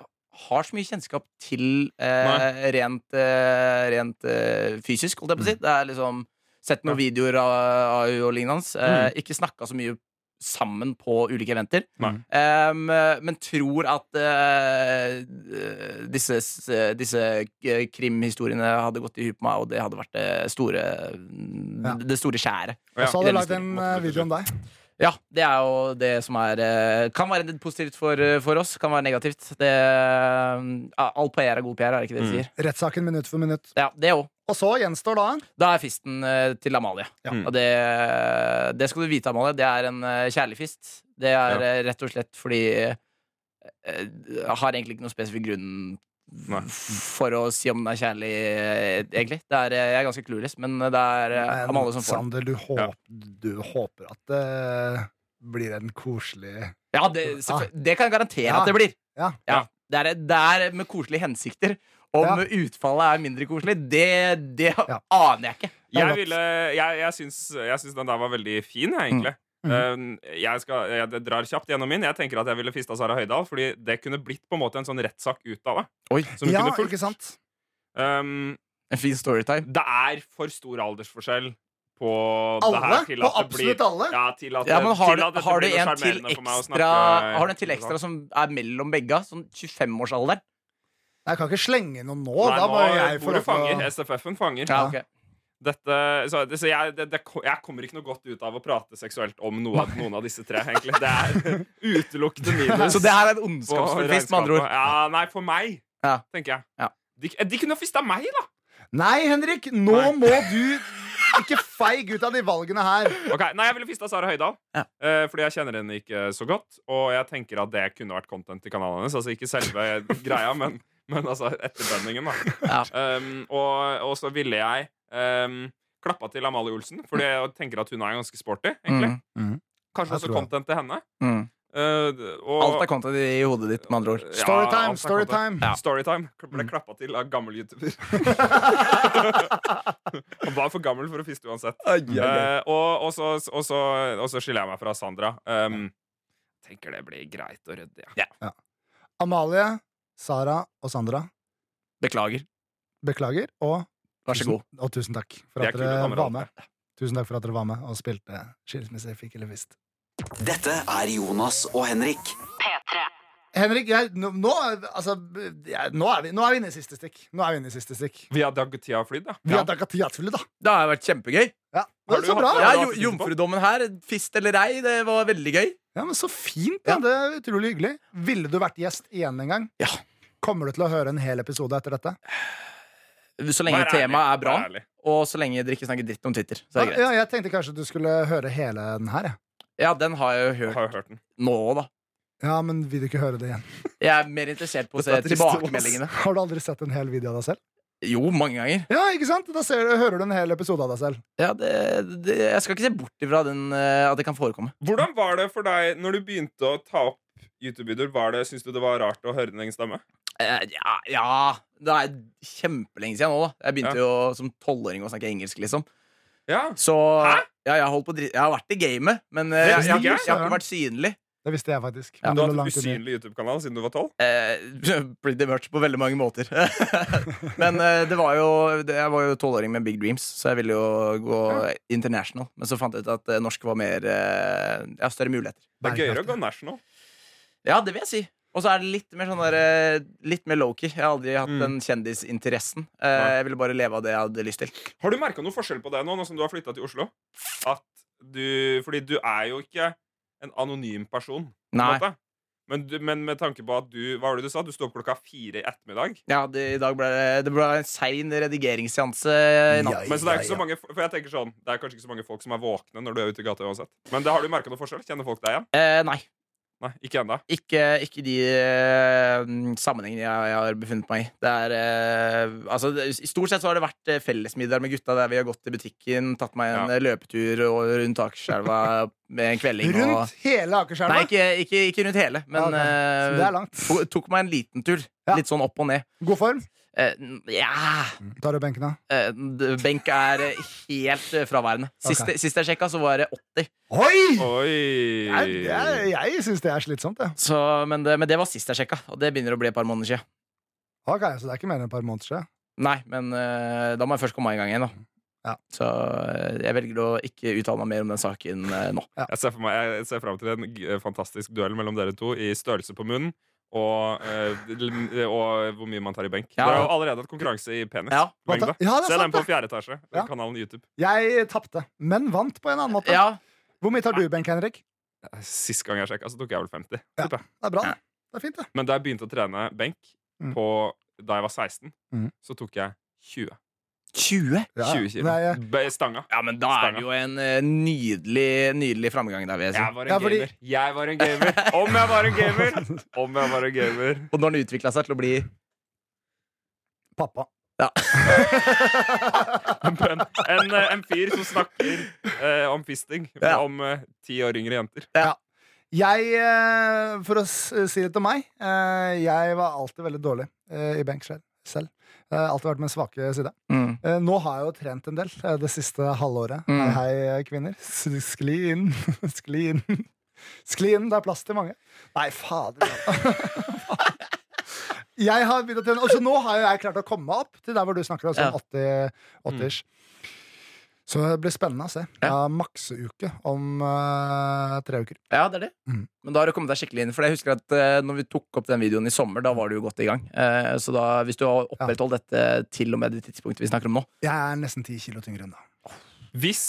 [SPEAKER 3] har så mye kjennskap til eh,
[SPEAKER 4] Nei. Mm.
[SPEAKER 3] rent, eh, rent eh, fysisk, holdt jeg på å si. Det er liksom Sett noen videoer av, av henne og lignende. Eh,
[SPEAKER 4] Mm.
[SPEAKER 3] Ikke snakka så mye sammen på ulike eventer.
[SPEAKER 4] Nei.
[SPEAKER 3] Em, men tror at eh, disse, disse krimhistoriene hadde gått i huet på meg, og det hadde vært det store,
[SPEAKER 2] Ja.
[SPEAKER 3] det store skjæret.
[SPEAKER 2] Og
[SPEAKER 3] i
[SPEAKER 2] så hadde du
[SPEAKER 3] den
[SPEAKER 2] lagd en
[SPEAKER 4] historien,
[SPEAKER 2] eh,
[SPEAKER 4] rett og
[SPEAKER 2] video om deg.
[SPEAKER 3] Ja, det er jo det som er eh, Kan være positivt for, eh, for oss, kan være negativt. Det, eh, ja, all PR E er god PR, er det ikke det de
[SPEAKER 4] Mm.
[SPEAKER 3] sier?
[SPEAKER 2] Rettssaken minutt for minutt.
[SPEAKER 3] Ja, det òg.
[SPEAKER 2] Og så gjenstår da
[SPEAKER 3] Da er fisten eh, til Amalie.
[SPEAKER 2] Ja.
[SPEAKER 3] Og det, eh, det skal du vite, Amalie. Det er en eh, kjærlig fist. Det er
[SPEAKER 4] Ja.
[SPEAKER 3] eh, rett og slett fordi eh, Jeg har egentlig ikke noen spesifikk grunn
[SPEAKER 4] Nei.
[SPEAKER 3] f- for å si om den er kjærlig, eh, egentlig. Det er, eh, jeg er ganske clueless, men det er eh,
[SPEAKER 2] Men,
[SPEAKER 3] Amalie som får den.
[SPEAKER 2] Sander, du, håp,
[SPEAKER 4] Ja.
[SPEAKER 2] du håper at det blir en koselig
[SPEAKER 3] Ja, det, selvfø- det kan jeg garantere
[SPEAKER 2] Ja.
[SPEAKER 3] at det blir.
[SPEAKER 2] Ja.
[SPEAKER 3] Ja. Det, er, det er med koselige hensikter. Om utfallet er mindre koselig, det, det
[SPEAKER 2] Ja.
[SPEAKER 3] aner jeg ikke.
[SPEAKER 4] Jeg, ville, jeg, jeg, syns, jeg syns den der var veldig fin, jeg, egentlig.
[SPEAKER 2] Mm.
[SPEAKER 4] Eh, jeg, skal, jeg det drar kjapt gjennom min. Jeg tenker at jeg ville fista Sara Høydahl, fordi det kunne blitt på en måte en sånn rettssak ut av det.
[SPEAKER 3] Oi,
[SPEAKER 4] Som vi
[SPEAKER 2] Ja,
[SPEAKER 4] kunne fulgt.
[SPEAKER 2] ikke sant?
[SPEAKER 4] Um,
[SPEAKER 3] En fin storytime.
[SPEAKER 4] det er for stor aldersforskjell på det
[SPEAKER 2] Alle?
[SPEAKER 4] her. Til
[SPEAKER 2] På
[SPEAKER 4] at det blir,
[SPEAKER 2] absolutt alle?
[SPEAKER 4] ja, til at,
[SPEAKER 3] Ja, men har,
[SPEAKER 4] til at
[SPEAKER 3] du,
[SPEAKER 4] dette
[SPEAKER 3] har, du
[SPEAKER 4] blir noe
[SPEAKER 3] en til
[SPEAKER 4] sjarmerende for meg å
[SPEAKER 3] ekstra,
[SPEAKER 4] snakke- eh,
[SPEAKER 3] har du en til ekstra som er mellom begge? Sånn 25-årsalder?
[SPEAKER 2] Jeg kan ikke slenge noen nå.
[SPEAKER 4] Nei,
[SPEAKER 2] da
[SPEAKER 4] nå
[SPEAKER 2] må jeg få lov
[SPEAKER 4] bor du
[SPEAKER 2] til
[SPEAKER 4] fanger.
[SPEAKER 2] å
[SPEAKER 4] SFF-en fanger.
[SPEAKER 3] Ja, ok.
[SPEAKER 4] Dette, så det, så jeg, det, det, jeg kommer ikke noe godt ut av å prate seksuelt om noe av, noen av disse tre. egentlig Det er
[SPEAKER 3] [LAUGHS]
[SPEAKER 4] utelukkende minus.
[SPEAKER 3] Så det her er en
[SPEAKER 4] på
[SPEAKER 3] ondskapsfest, med andre
[SPEAKER 4] regnskapet.
[SPEAKER 3] ord?
[SPEAKER 4] Ja, nei, for meg,
[SPEAKER 3] Ja.
[SPEAKER 4] tenker jeg.
[SPEAKER 3] Ja.
[SPEAKER 4] De, eh, de kunne fista meg, da!
[SPEAKER 2] Nei, Henrik, nå
[SPEAKER 4] Nei.
[SPEAKER 2] må du ikke feig ut av de valgene her.
[SPEAKER 4] Ok, Nei, jeg ville fista Sara Høydahl.
[SPEAKER 3] Ja.
[SPEAKER 4] eh, fordi jeg kjenner henne ikke så godt. Og jeg tenker at det kunne vært content til kanalen hennes. Altså ikke
[SPEAKER 3] [LAUGHS]
[SPEAKER 4] selve greia, men, men altså etterbønningen, da.
[SPEAKER 3] Ja.
[SPEAKER 4] Um, og, og så ville jeg um, klappa til Amalie Olsen, fordi jeg tenker at hun er ganske sporty, egentlig.
[SPEAKER 3] Mm,
[SPEAKER 4] Kanskje
[SPEAKER 2] Jeg
[SPEAKER 4] også
[SPEAKER 2] tror det.
[SPEAKER 4] content til henne.
[SPEAKER 3] mm.
[SPEAKER 4] Eh, og,
[SPEAKER 3] Alt er content i hodet ditt, med andre ord.
[SPEAKER 4] Ja, alt
[SPEAKER 2] Storytime,
[SPEAKER 4] er
[SPEAKER 2] storytime.
[SPEAKER 4] content. Storytime ble klappa til av gammel [LAUGHS] YouTuber. Han var for gammel for å fiste uansett. Eh, og, og, så, og, så, og så skiller jeg meg fra Sandra. Um, tenker det blir greit og ryddig. Ja.
[SPEAKER 2] Amalie, Sara og Sandra,
[SPEAKER 3] Beklager.
[SPEAKER 2] beklager. Og,
[SPEAKER 3] Vær så
[SPEAKER 2] tusen,
[SPEAKER 3] god.
[SPEAKER 2] og tusen takk for
[SPEAKER 4] De er
[SPEAKER 2] at
[SPEAKER 4] kule
[SPEAKER 2] dere
[SPEAKER 4] damer,
[SPEAKER 2] var
[SPEAKER 4] alle.
[SPEAKER 2] med. Tusen takk for at dere var med og spilte Skilsmisse fikk eller fist.
[SPEAKER 1] Dette er Jonas og Henrik.
[SPEAKER 2] Henrik, jeg, nå, nå, altså, jeg, nå, er vi, nå er vi inne i siste stikk. Nå er vi inne i siste stikk.
[SPEAKER 4] Via Dag Tia Flyd, da.
[SPEAKER 2] Vi har takka tiatsfullet, da.
[SPEAKER 3] Det har vært kjempegøy.
[SPEAKER 2] Ja.
[SPEAKER 4] Har
[SPEAKER 2] Men,
[SPEAKER 4] du
[SPEAKER 2] så
[SPEAKER 4] hatt-
[SPEAKER 2] bra!
[SPEAKER 3] Ja, jo,
[SPEAKER 4] du hatt det på?
[SPEAKER 3] Jomfrudommen her, fist eller ei, det var veldig gøy.
[SPEAKER 2] Ja, men Så fint! da, Det er utrolig hyggelig. Ville du vært gjest igjen en gang?
[SPEAKER 3] Ja.
[SPEAKER 2] Kommer du til å høre en hel episode etter dette?
[SPEAKER 3] Så lenge
[SPEAKER 4] Vær ærlig,
[SPEAKER 3] temaet er bra,
[SPEAKER 4] vær ærlig.
[SPEAKER 3] og så lenge dere ikke snakker dritt om Twitter. Så er det
[SPEAKER 2] Ja,
[SPEAKER 3] greit.
[SPEAKER 2] jeg tenkte kanskje du skulle høre hele den her. jeg.
[SPEAKER 3] Ja, den har jeg jo
[SPEAKER 4] Jeg
[SPEAKER 3] hørt
[SPEAKER 4] Har jo hørt den.
[SPEAKER 3] nå òg, da.
[SPEAKER 2] Ja, men vil du ikke høre det igjen?
[SPEAKER 3] Jeg er mer interessert på å se
[SPEAKER 4] Dette er trist,
[SPEAKER 2] [LAUGHS]
[SPEAKER 4] Jonas.
[SPEAKER 3] tilbakemeldingene.
[SPEAKER 2] Har du aldri sett en hel video av deg selv?
[SPEAKER 3] Jo, mange ganger.
[SPEAKER 2] Ja, ikke sant? Da ser, du- hører du en hel episode av deg selv.
[SPEAKER 3] Ja, det, det, jeg skal ikke se bort ifra den, eh, at det kan forekomme.
[SPEAKER 4] Hvordan var det for deg når du begynte å ta opp YouTube-videoer? Var det, Syns du det var rart å høre din egen stemme?
[SPEAKER 3] Eh, ja, ja Det er kjempelenge siden nå, da. Jeg begynte
[SPEAKER 4] Ja.
[SPEAKER 3] jo som tolvåring å snakke engelsk, liksom.
[SPEAKER 4] Ja.
[SPEAKER 3] Så
[SPEAKER 4] Hæ?
[SPEAKER 3] ja, jeg, har holdt på å dri jeg har vært i gamet, men eh, jeg,
[SPEAKER 4] Det
[SPEAKER 3] jeg, har
[SPEAKER 4] visste
[SPEAKER 3] ikke-
[SPEAKER 4] ikke jeg.
[SPEAKER 3] jeg har ikke vært synlig.
[SPEAKER 2] Det visste jeg faktisk.
[SPEAKER 3] Ja.
[SPEAKER 2] men
[SPEAKER 4] Du
[SPEAKER 2] lå
[SPEAKER 4] har hatt
[SPEAKER 2] langt
[SPEAKER 4] en
[SPEAKER 2] inni.
[SPEAKER 4] usynlig YouTube-kanal siden du var tolv?
[SPEAKER 3] Eh, [LAUGHS] pretty much på veldig mange måter. [LAUGHS] men eh, det var jo det, jeg var jo tolvåring med big dreams, så jeg ville jo gå international. Men så fant jeg ut at eh, norsk var mer eh, Ja, større muligheter.
[SPEAKER 4] Det er gøyere å gå national.
[SPEAKER 3] Ja, det vil jeg si. Og så er det litt mer sånn der, eh, Litt mer lowkey. Jeg har aldri hatt
[SPEAKER 4] Mm.
[SPEAKER 3] den kjendisinteressen. Eh,
[SPEAKER 4] Nei.
[SPEAKER 3] jeg ville bare leve av det jeg hadde lyst til.
[SPEAKER 4] Har du merka noe forskjell på det nå, nå som du har flytta til Oslo? At du, fordi du er jo ikke en anonym person. på en
[SPEAKER 3] Nei.
[SPEAKER 4] måte. Men, du, men med tanke på at du Hva var det du sa? Du sto opp klokka fire i ettermiddag?
[SPEAKER 3] Ja, det, I dag ble det, det ble en sein redigeringsseanse i natt.
[SPEAKER 2] Ja,
[SPEAKER 4] Men så det er
[SPEAKER 2] ja,
[SPEAKER 4] ikke så
[SPEAKER 2] ja.
[SPEAKER 4] mange For jeg tenker sånn Det er kanskje ikke så mange folk som er våkne når du er ute i gata uansett. Men det har du merka noe forskjell? Kjenner folk deg igjen?
[SPEAKER 3] Eh, nei.
[SPEAKER 4] Nei, ikke ennå.
[SPEAKER 3] Ikke, ikke de eh, sammenhengene jeg, jeg har befunnet meg i. Det er, eh, altså, det, I stort sett så har det vært eh, fellesmiddager med gutta der vi har gått til butikken, tatt meg en
[SPEAKER 4] Ja.
[SPEAKER 3] eh, løpetur og rundt Akerselva med en kvelding.
[SPEAKER 2] Rundt
[SPEAKER 3] Og,
[SPEAKER 2] hele
[SPEAKER 3] nei,
[SPEAKER 2] Akerselva?
[SPEAKER 3] ikke, ikke, ikke rundt hele, men
[SPEAKER 2] Ja, ok. Så
[SPEAKER 3] eh,
[SPEAKER 2] Det er langt.
[SPEAKER 3] to- tok meg en liten tur.
[SPEAKER 2] Ja.
[SPEAKER 3] Litt sånn opp og ned.
[SPEAKER 2] God form.
[SPEAKER 3] Eh, n- ja
[SPEAKER 2] Tar du benken av?
[SPEAKER 3] eh, d- Benk er eh, helt eh, fraværende. Sist,
[SPEAKER 2] Ok.
[SPEAKER 3] sist jeg sjekka, så var det 80.
[SPEAKER 2] Oi!
[SPEAKER 4] Oi!
[SPEAKER 2] Jeg, jeg, jeg syns det er slitsomt, jeg.
[SPEAKER 3] Så, men, det, men det var sist jeg sjekka, og det begynner å bli et par måneder siden.
[SPEAKER 2] Ok, så det er ikke mer enn et par måneder siden.
[SPEAKER 3] Nei, men eh, da må jeg først komme meg i gang igjen, da.
[SPEAKER 2] Ja.
[SPEAKER 3] Så eh, jeg velger å ikke uttale meg mer om den saken eh, nå.
[SPEAKER 4] Jeg ser, for meg, jeg ser frem til en g- eh, fantastisk duell mellom dere to i størrelse på munn og, eh, l- og hvor mye man tar i benk.
[SPEAKER 3] Ja.
[SPEAKER 4] Dere har jo allerede hatt konkurranse i penis.
[SPEAKER 3] Ja.
[SPEAKER 4] Lengde.
[SPEAKER 2] Ja, det
[SPEAKER 4] Se
[SPEAKER 2] er
[SPEAKER 4] den
[SPEAKER 2] sant,
[SPEAKER 4] på
[SPEAKER 2] det.
[SPEAKER 4] fjerde etasje.
[SPEAKER 2] Ja.
[SPEAKER 4] Kanalen YouTube.
[SPEAKER 2] Jeg tapte, men vant på en annen måte.
[SPEAKER 3] Ja,
[SPEAKER 2] Hvor mye tar du i benk, Henrik?
[SPEAKER 4] Eh, Sist gang jeg sjekka, så tok jeg vel 50.
[SPEAKER 2] Ja.
[SPEAKER 4] tipper jeg.
[SPEAKER 2] Det er bra,
[SPEAKER 3] Ja.
[SPEAKER 2] det. Det er fint, det.
[SPEAKER 4] Men da jeg begynte å trene benk
[SPEAKER 2] Mm.
[SPEAKER 4] på, da jeg var 16,
[SPEAKER 2] Mm.
[SPEAKER 4] så tok jeg 20.
[SPEAKER 3] 20?
[SPEAKER 4] 20 kilo.
[SPEAKER 2] Nei, eh, jeg-
[SPEAKER 4] Be- Stanga.
[SPEAKER 3] Ja, men da er det jo en eh, nydelig, nydelig framgang der, vil jeg si.
[SPEAKER 4] Jeg var en
[SPEAKER 2] Ja, fordi-
[SPEAKER 4] gamer. Jeg var en gamer. Om jeg var en gamer! Om jeg var en gamer.
[SPEAKER 3] Og når den utvikla seg til å bli
[SPEAKER 2] Pappa.
[SPEAKER 3] Ja.
[SPEAKER 4] En, en, eh, en fyr som snakker eh, om fisting.
[SPEAKER 3] Ja.
[SPEAKER 4] Om eh, ti år yngre jenter.
[SPEAKER 2] Jeg, eh, for å s- si det til meg, eh, jeg var alltid veldig dårlig eh, i benk selv. selv. Eh, Alltid vært min svake side.
[SPEAKER 3] mm.
[SPEAKER 2] Eh, Nå har jeg jo trent en del eh, det siste halvåret.
[SPEAKER 3] Mm.
[SPEAKER 2] Hei, hei, kvinner. S- Skli inn. [LAUGHS] Skli inn. Skli inn. Det er plass til mange. Nei, fader. [LAUGHS] jeg har begynt å trene. Og så nå har jo jeg klart å komme meg opp til der hvor du snakker om
[SPEAKER 3] Ja.
[SPEAKER 2] sånn 80 80-ish. Så det blir spennende å se. Jeg har makseuke om eh, tre uker.
[SPEAKER 3] Ja, det er det.
[SPEAKER 2] Mm.
[SPEAKER 3] Men da har du kommet deg skikkelig inn. For jeg husker at eh, når vi tok opp den videoen i sommer, da var du jo godt i gang. Eh, så da, hvis du har opprettholdt dette til og med det tidspunktet vi snakker om nå
[SPEAKER 2] Jeg er nesten ti kilo tyngre enn da.
[SPEAKER 4] Hvis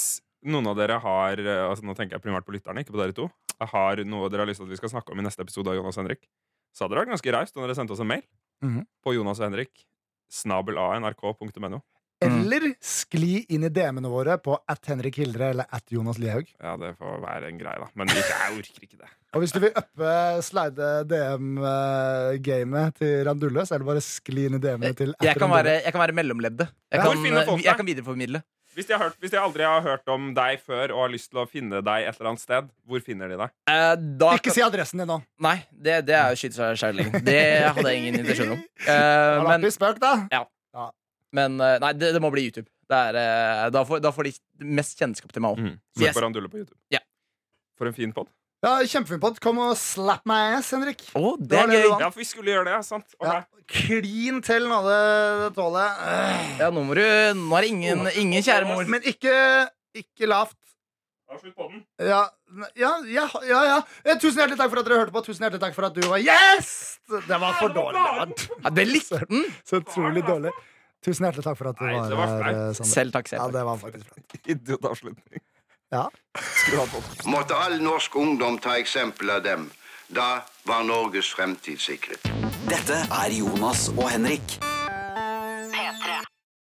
[SPEAKER 4] noen av dere har eh, altså Nå tenker jeg primært på lytterne, ikke på dere to. Har noe dere har lyst til at vi skal snakke om i neste episode av Jonas og Henrik, så hadde dere vært ganske raust om dere sendte oss en mail
[SPEAKER 2] Mhm.
[SPEAKER 4] på Jonas og Henrik. Snabelanrk.no.
[SPEAKER 3] Mm.
[SPEAKER 2] Eller skli inn i DM-ene våre på at Henrik Hildre eller at Jonas Lihaug.
[SPEAKER 4] Ja, det får være en greie, da. Men ikke, [LAUGHS] jeg orker ikke det.
[SPEAKER 2] Og hvis du vil uppe slide DM-gamet til Randulle, så er det bare å skli inn i DM-ene til
[SPEAKER 3] Jeg
[SPEAKER 2] at
[SPEAKER 3] kan
[SPEAKER 2] Randulle.
[SPEAKER 3] være, jeg kan være mellomleddet. Jeg
[SPEAKER 4] Ja.
[SPEAKER 3] kan,
[SPEAKER 4] Hvor finner folk deg?
[SPEAKER 3] jeg kan videreformidle.
[SPEAKER 4] Hvis jeg, har hørt, hvis jeg aldri har hørt om deg før og har lyst til å finne deg et eller annet sted, hvor finner de deg?
[SPEAKER 3] Eh, da
[SPEAKER 2] Ikke si adressen din nå.
[SPEAKER 3] Nei, det, det er jo skyte seg selv i leggen. Det hadde jeg ingen intensjon om. Eh,
[SPEAKER 2] Har det
[SPEAKER 3] men
[SPEAKER 2] vært i spøk, da?
[SPEAKER 3] men eh, nei, det, det må bli YouTube. Det er, eh, da, får, da får de mest kjennskap til meg òg.
[SPEAKER 4] Søk
[SPEAKER 3] Yes.
[SPEAKER 4] Mm. på Randulle på YouTube.
[SPEAKER 3] Ja.
[SPEAKER 4] For en fin pod.
[SPEAKER 2] Ja, Kjempefin pott. Kom og slap my ass, Henrik.
[SPEAKER 3] det
[SPEAKER 2] var
[SPEAKER 3] er
[SPEAKER 2] Mm. det du
[SPEAKER 3] gøy!
[SPEAKER 2] vant.
[SPEAKER 4] Ja, for vi skulle gjøre det, Sånn. ja, sant? Ok.
[SPEAKER 2] Ja, klin til nå, det, det tålet. Øh.
[SPEAKER 3] Ja, nå må du Nå er det ingen, ingen kjære mor.
[SPEAKER 2] Men ikke, ikke lavt.
[SPEAKER 4] Avslutt [LAUGHS] podden.
[SPEAKER 2] Ja, ja, ja, ja, ja. Eh, Tusen hjertelig takk for at dere hørte på. Tusen hjertelig takk for at du var gjest! Det var for dårlig. Det var
[SPEAKER 3] Ja, det
[SPEAKER 2] [LAUGHS]
[SPEAKER 3] likte den!
[SPEAKER 2] så utrolig dårlig. Tusen hjertelig takk for at du
[SPEAKER 4] Nei, det
[SPEAKER 2] var
[SPEAKER 4] var
[SPEAKER 2] her, eh, Sander.
[SPEAKER 3] Selv takk,
[SPEAKER 2] Ja,
[SPEAKER 3] selv takk.
[SPEAKER 2] det var faktisk flaut.
[SPEAKER 4] Idiotavslutning.
[SPEAKER 2] Ja.
[SPEAKER 4] Skulle ha podden.
[SPEAKER 5] måtte all norsk ungdom ta eksempel av dem. Da var Norges fremtid sikret.
[SPEAKER 1] Dette er Jonas og Henrik.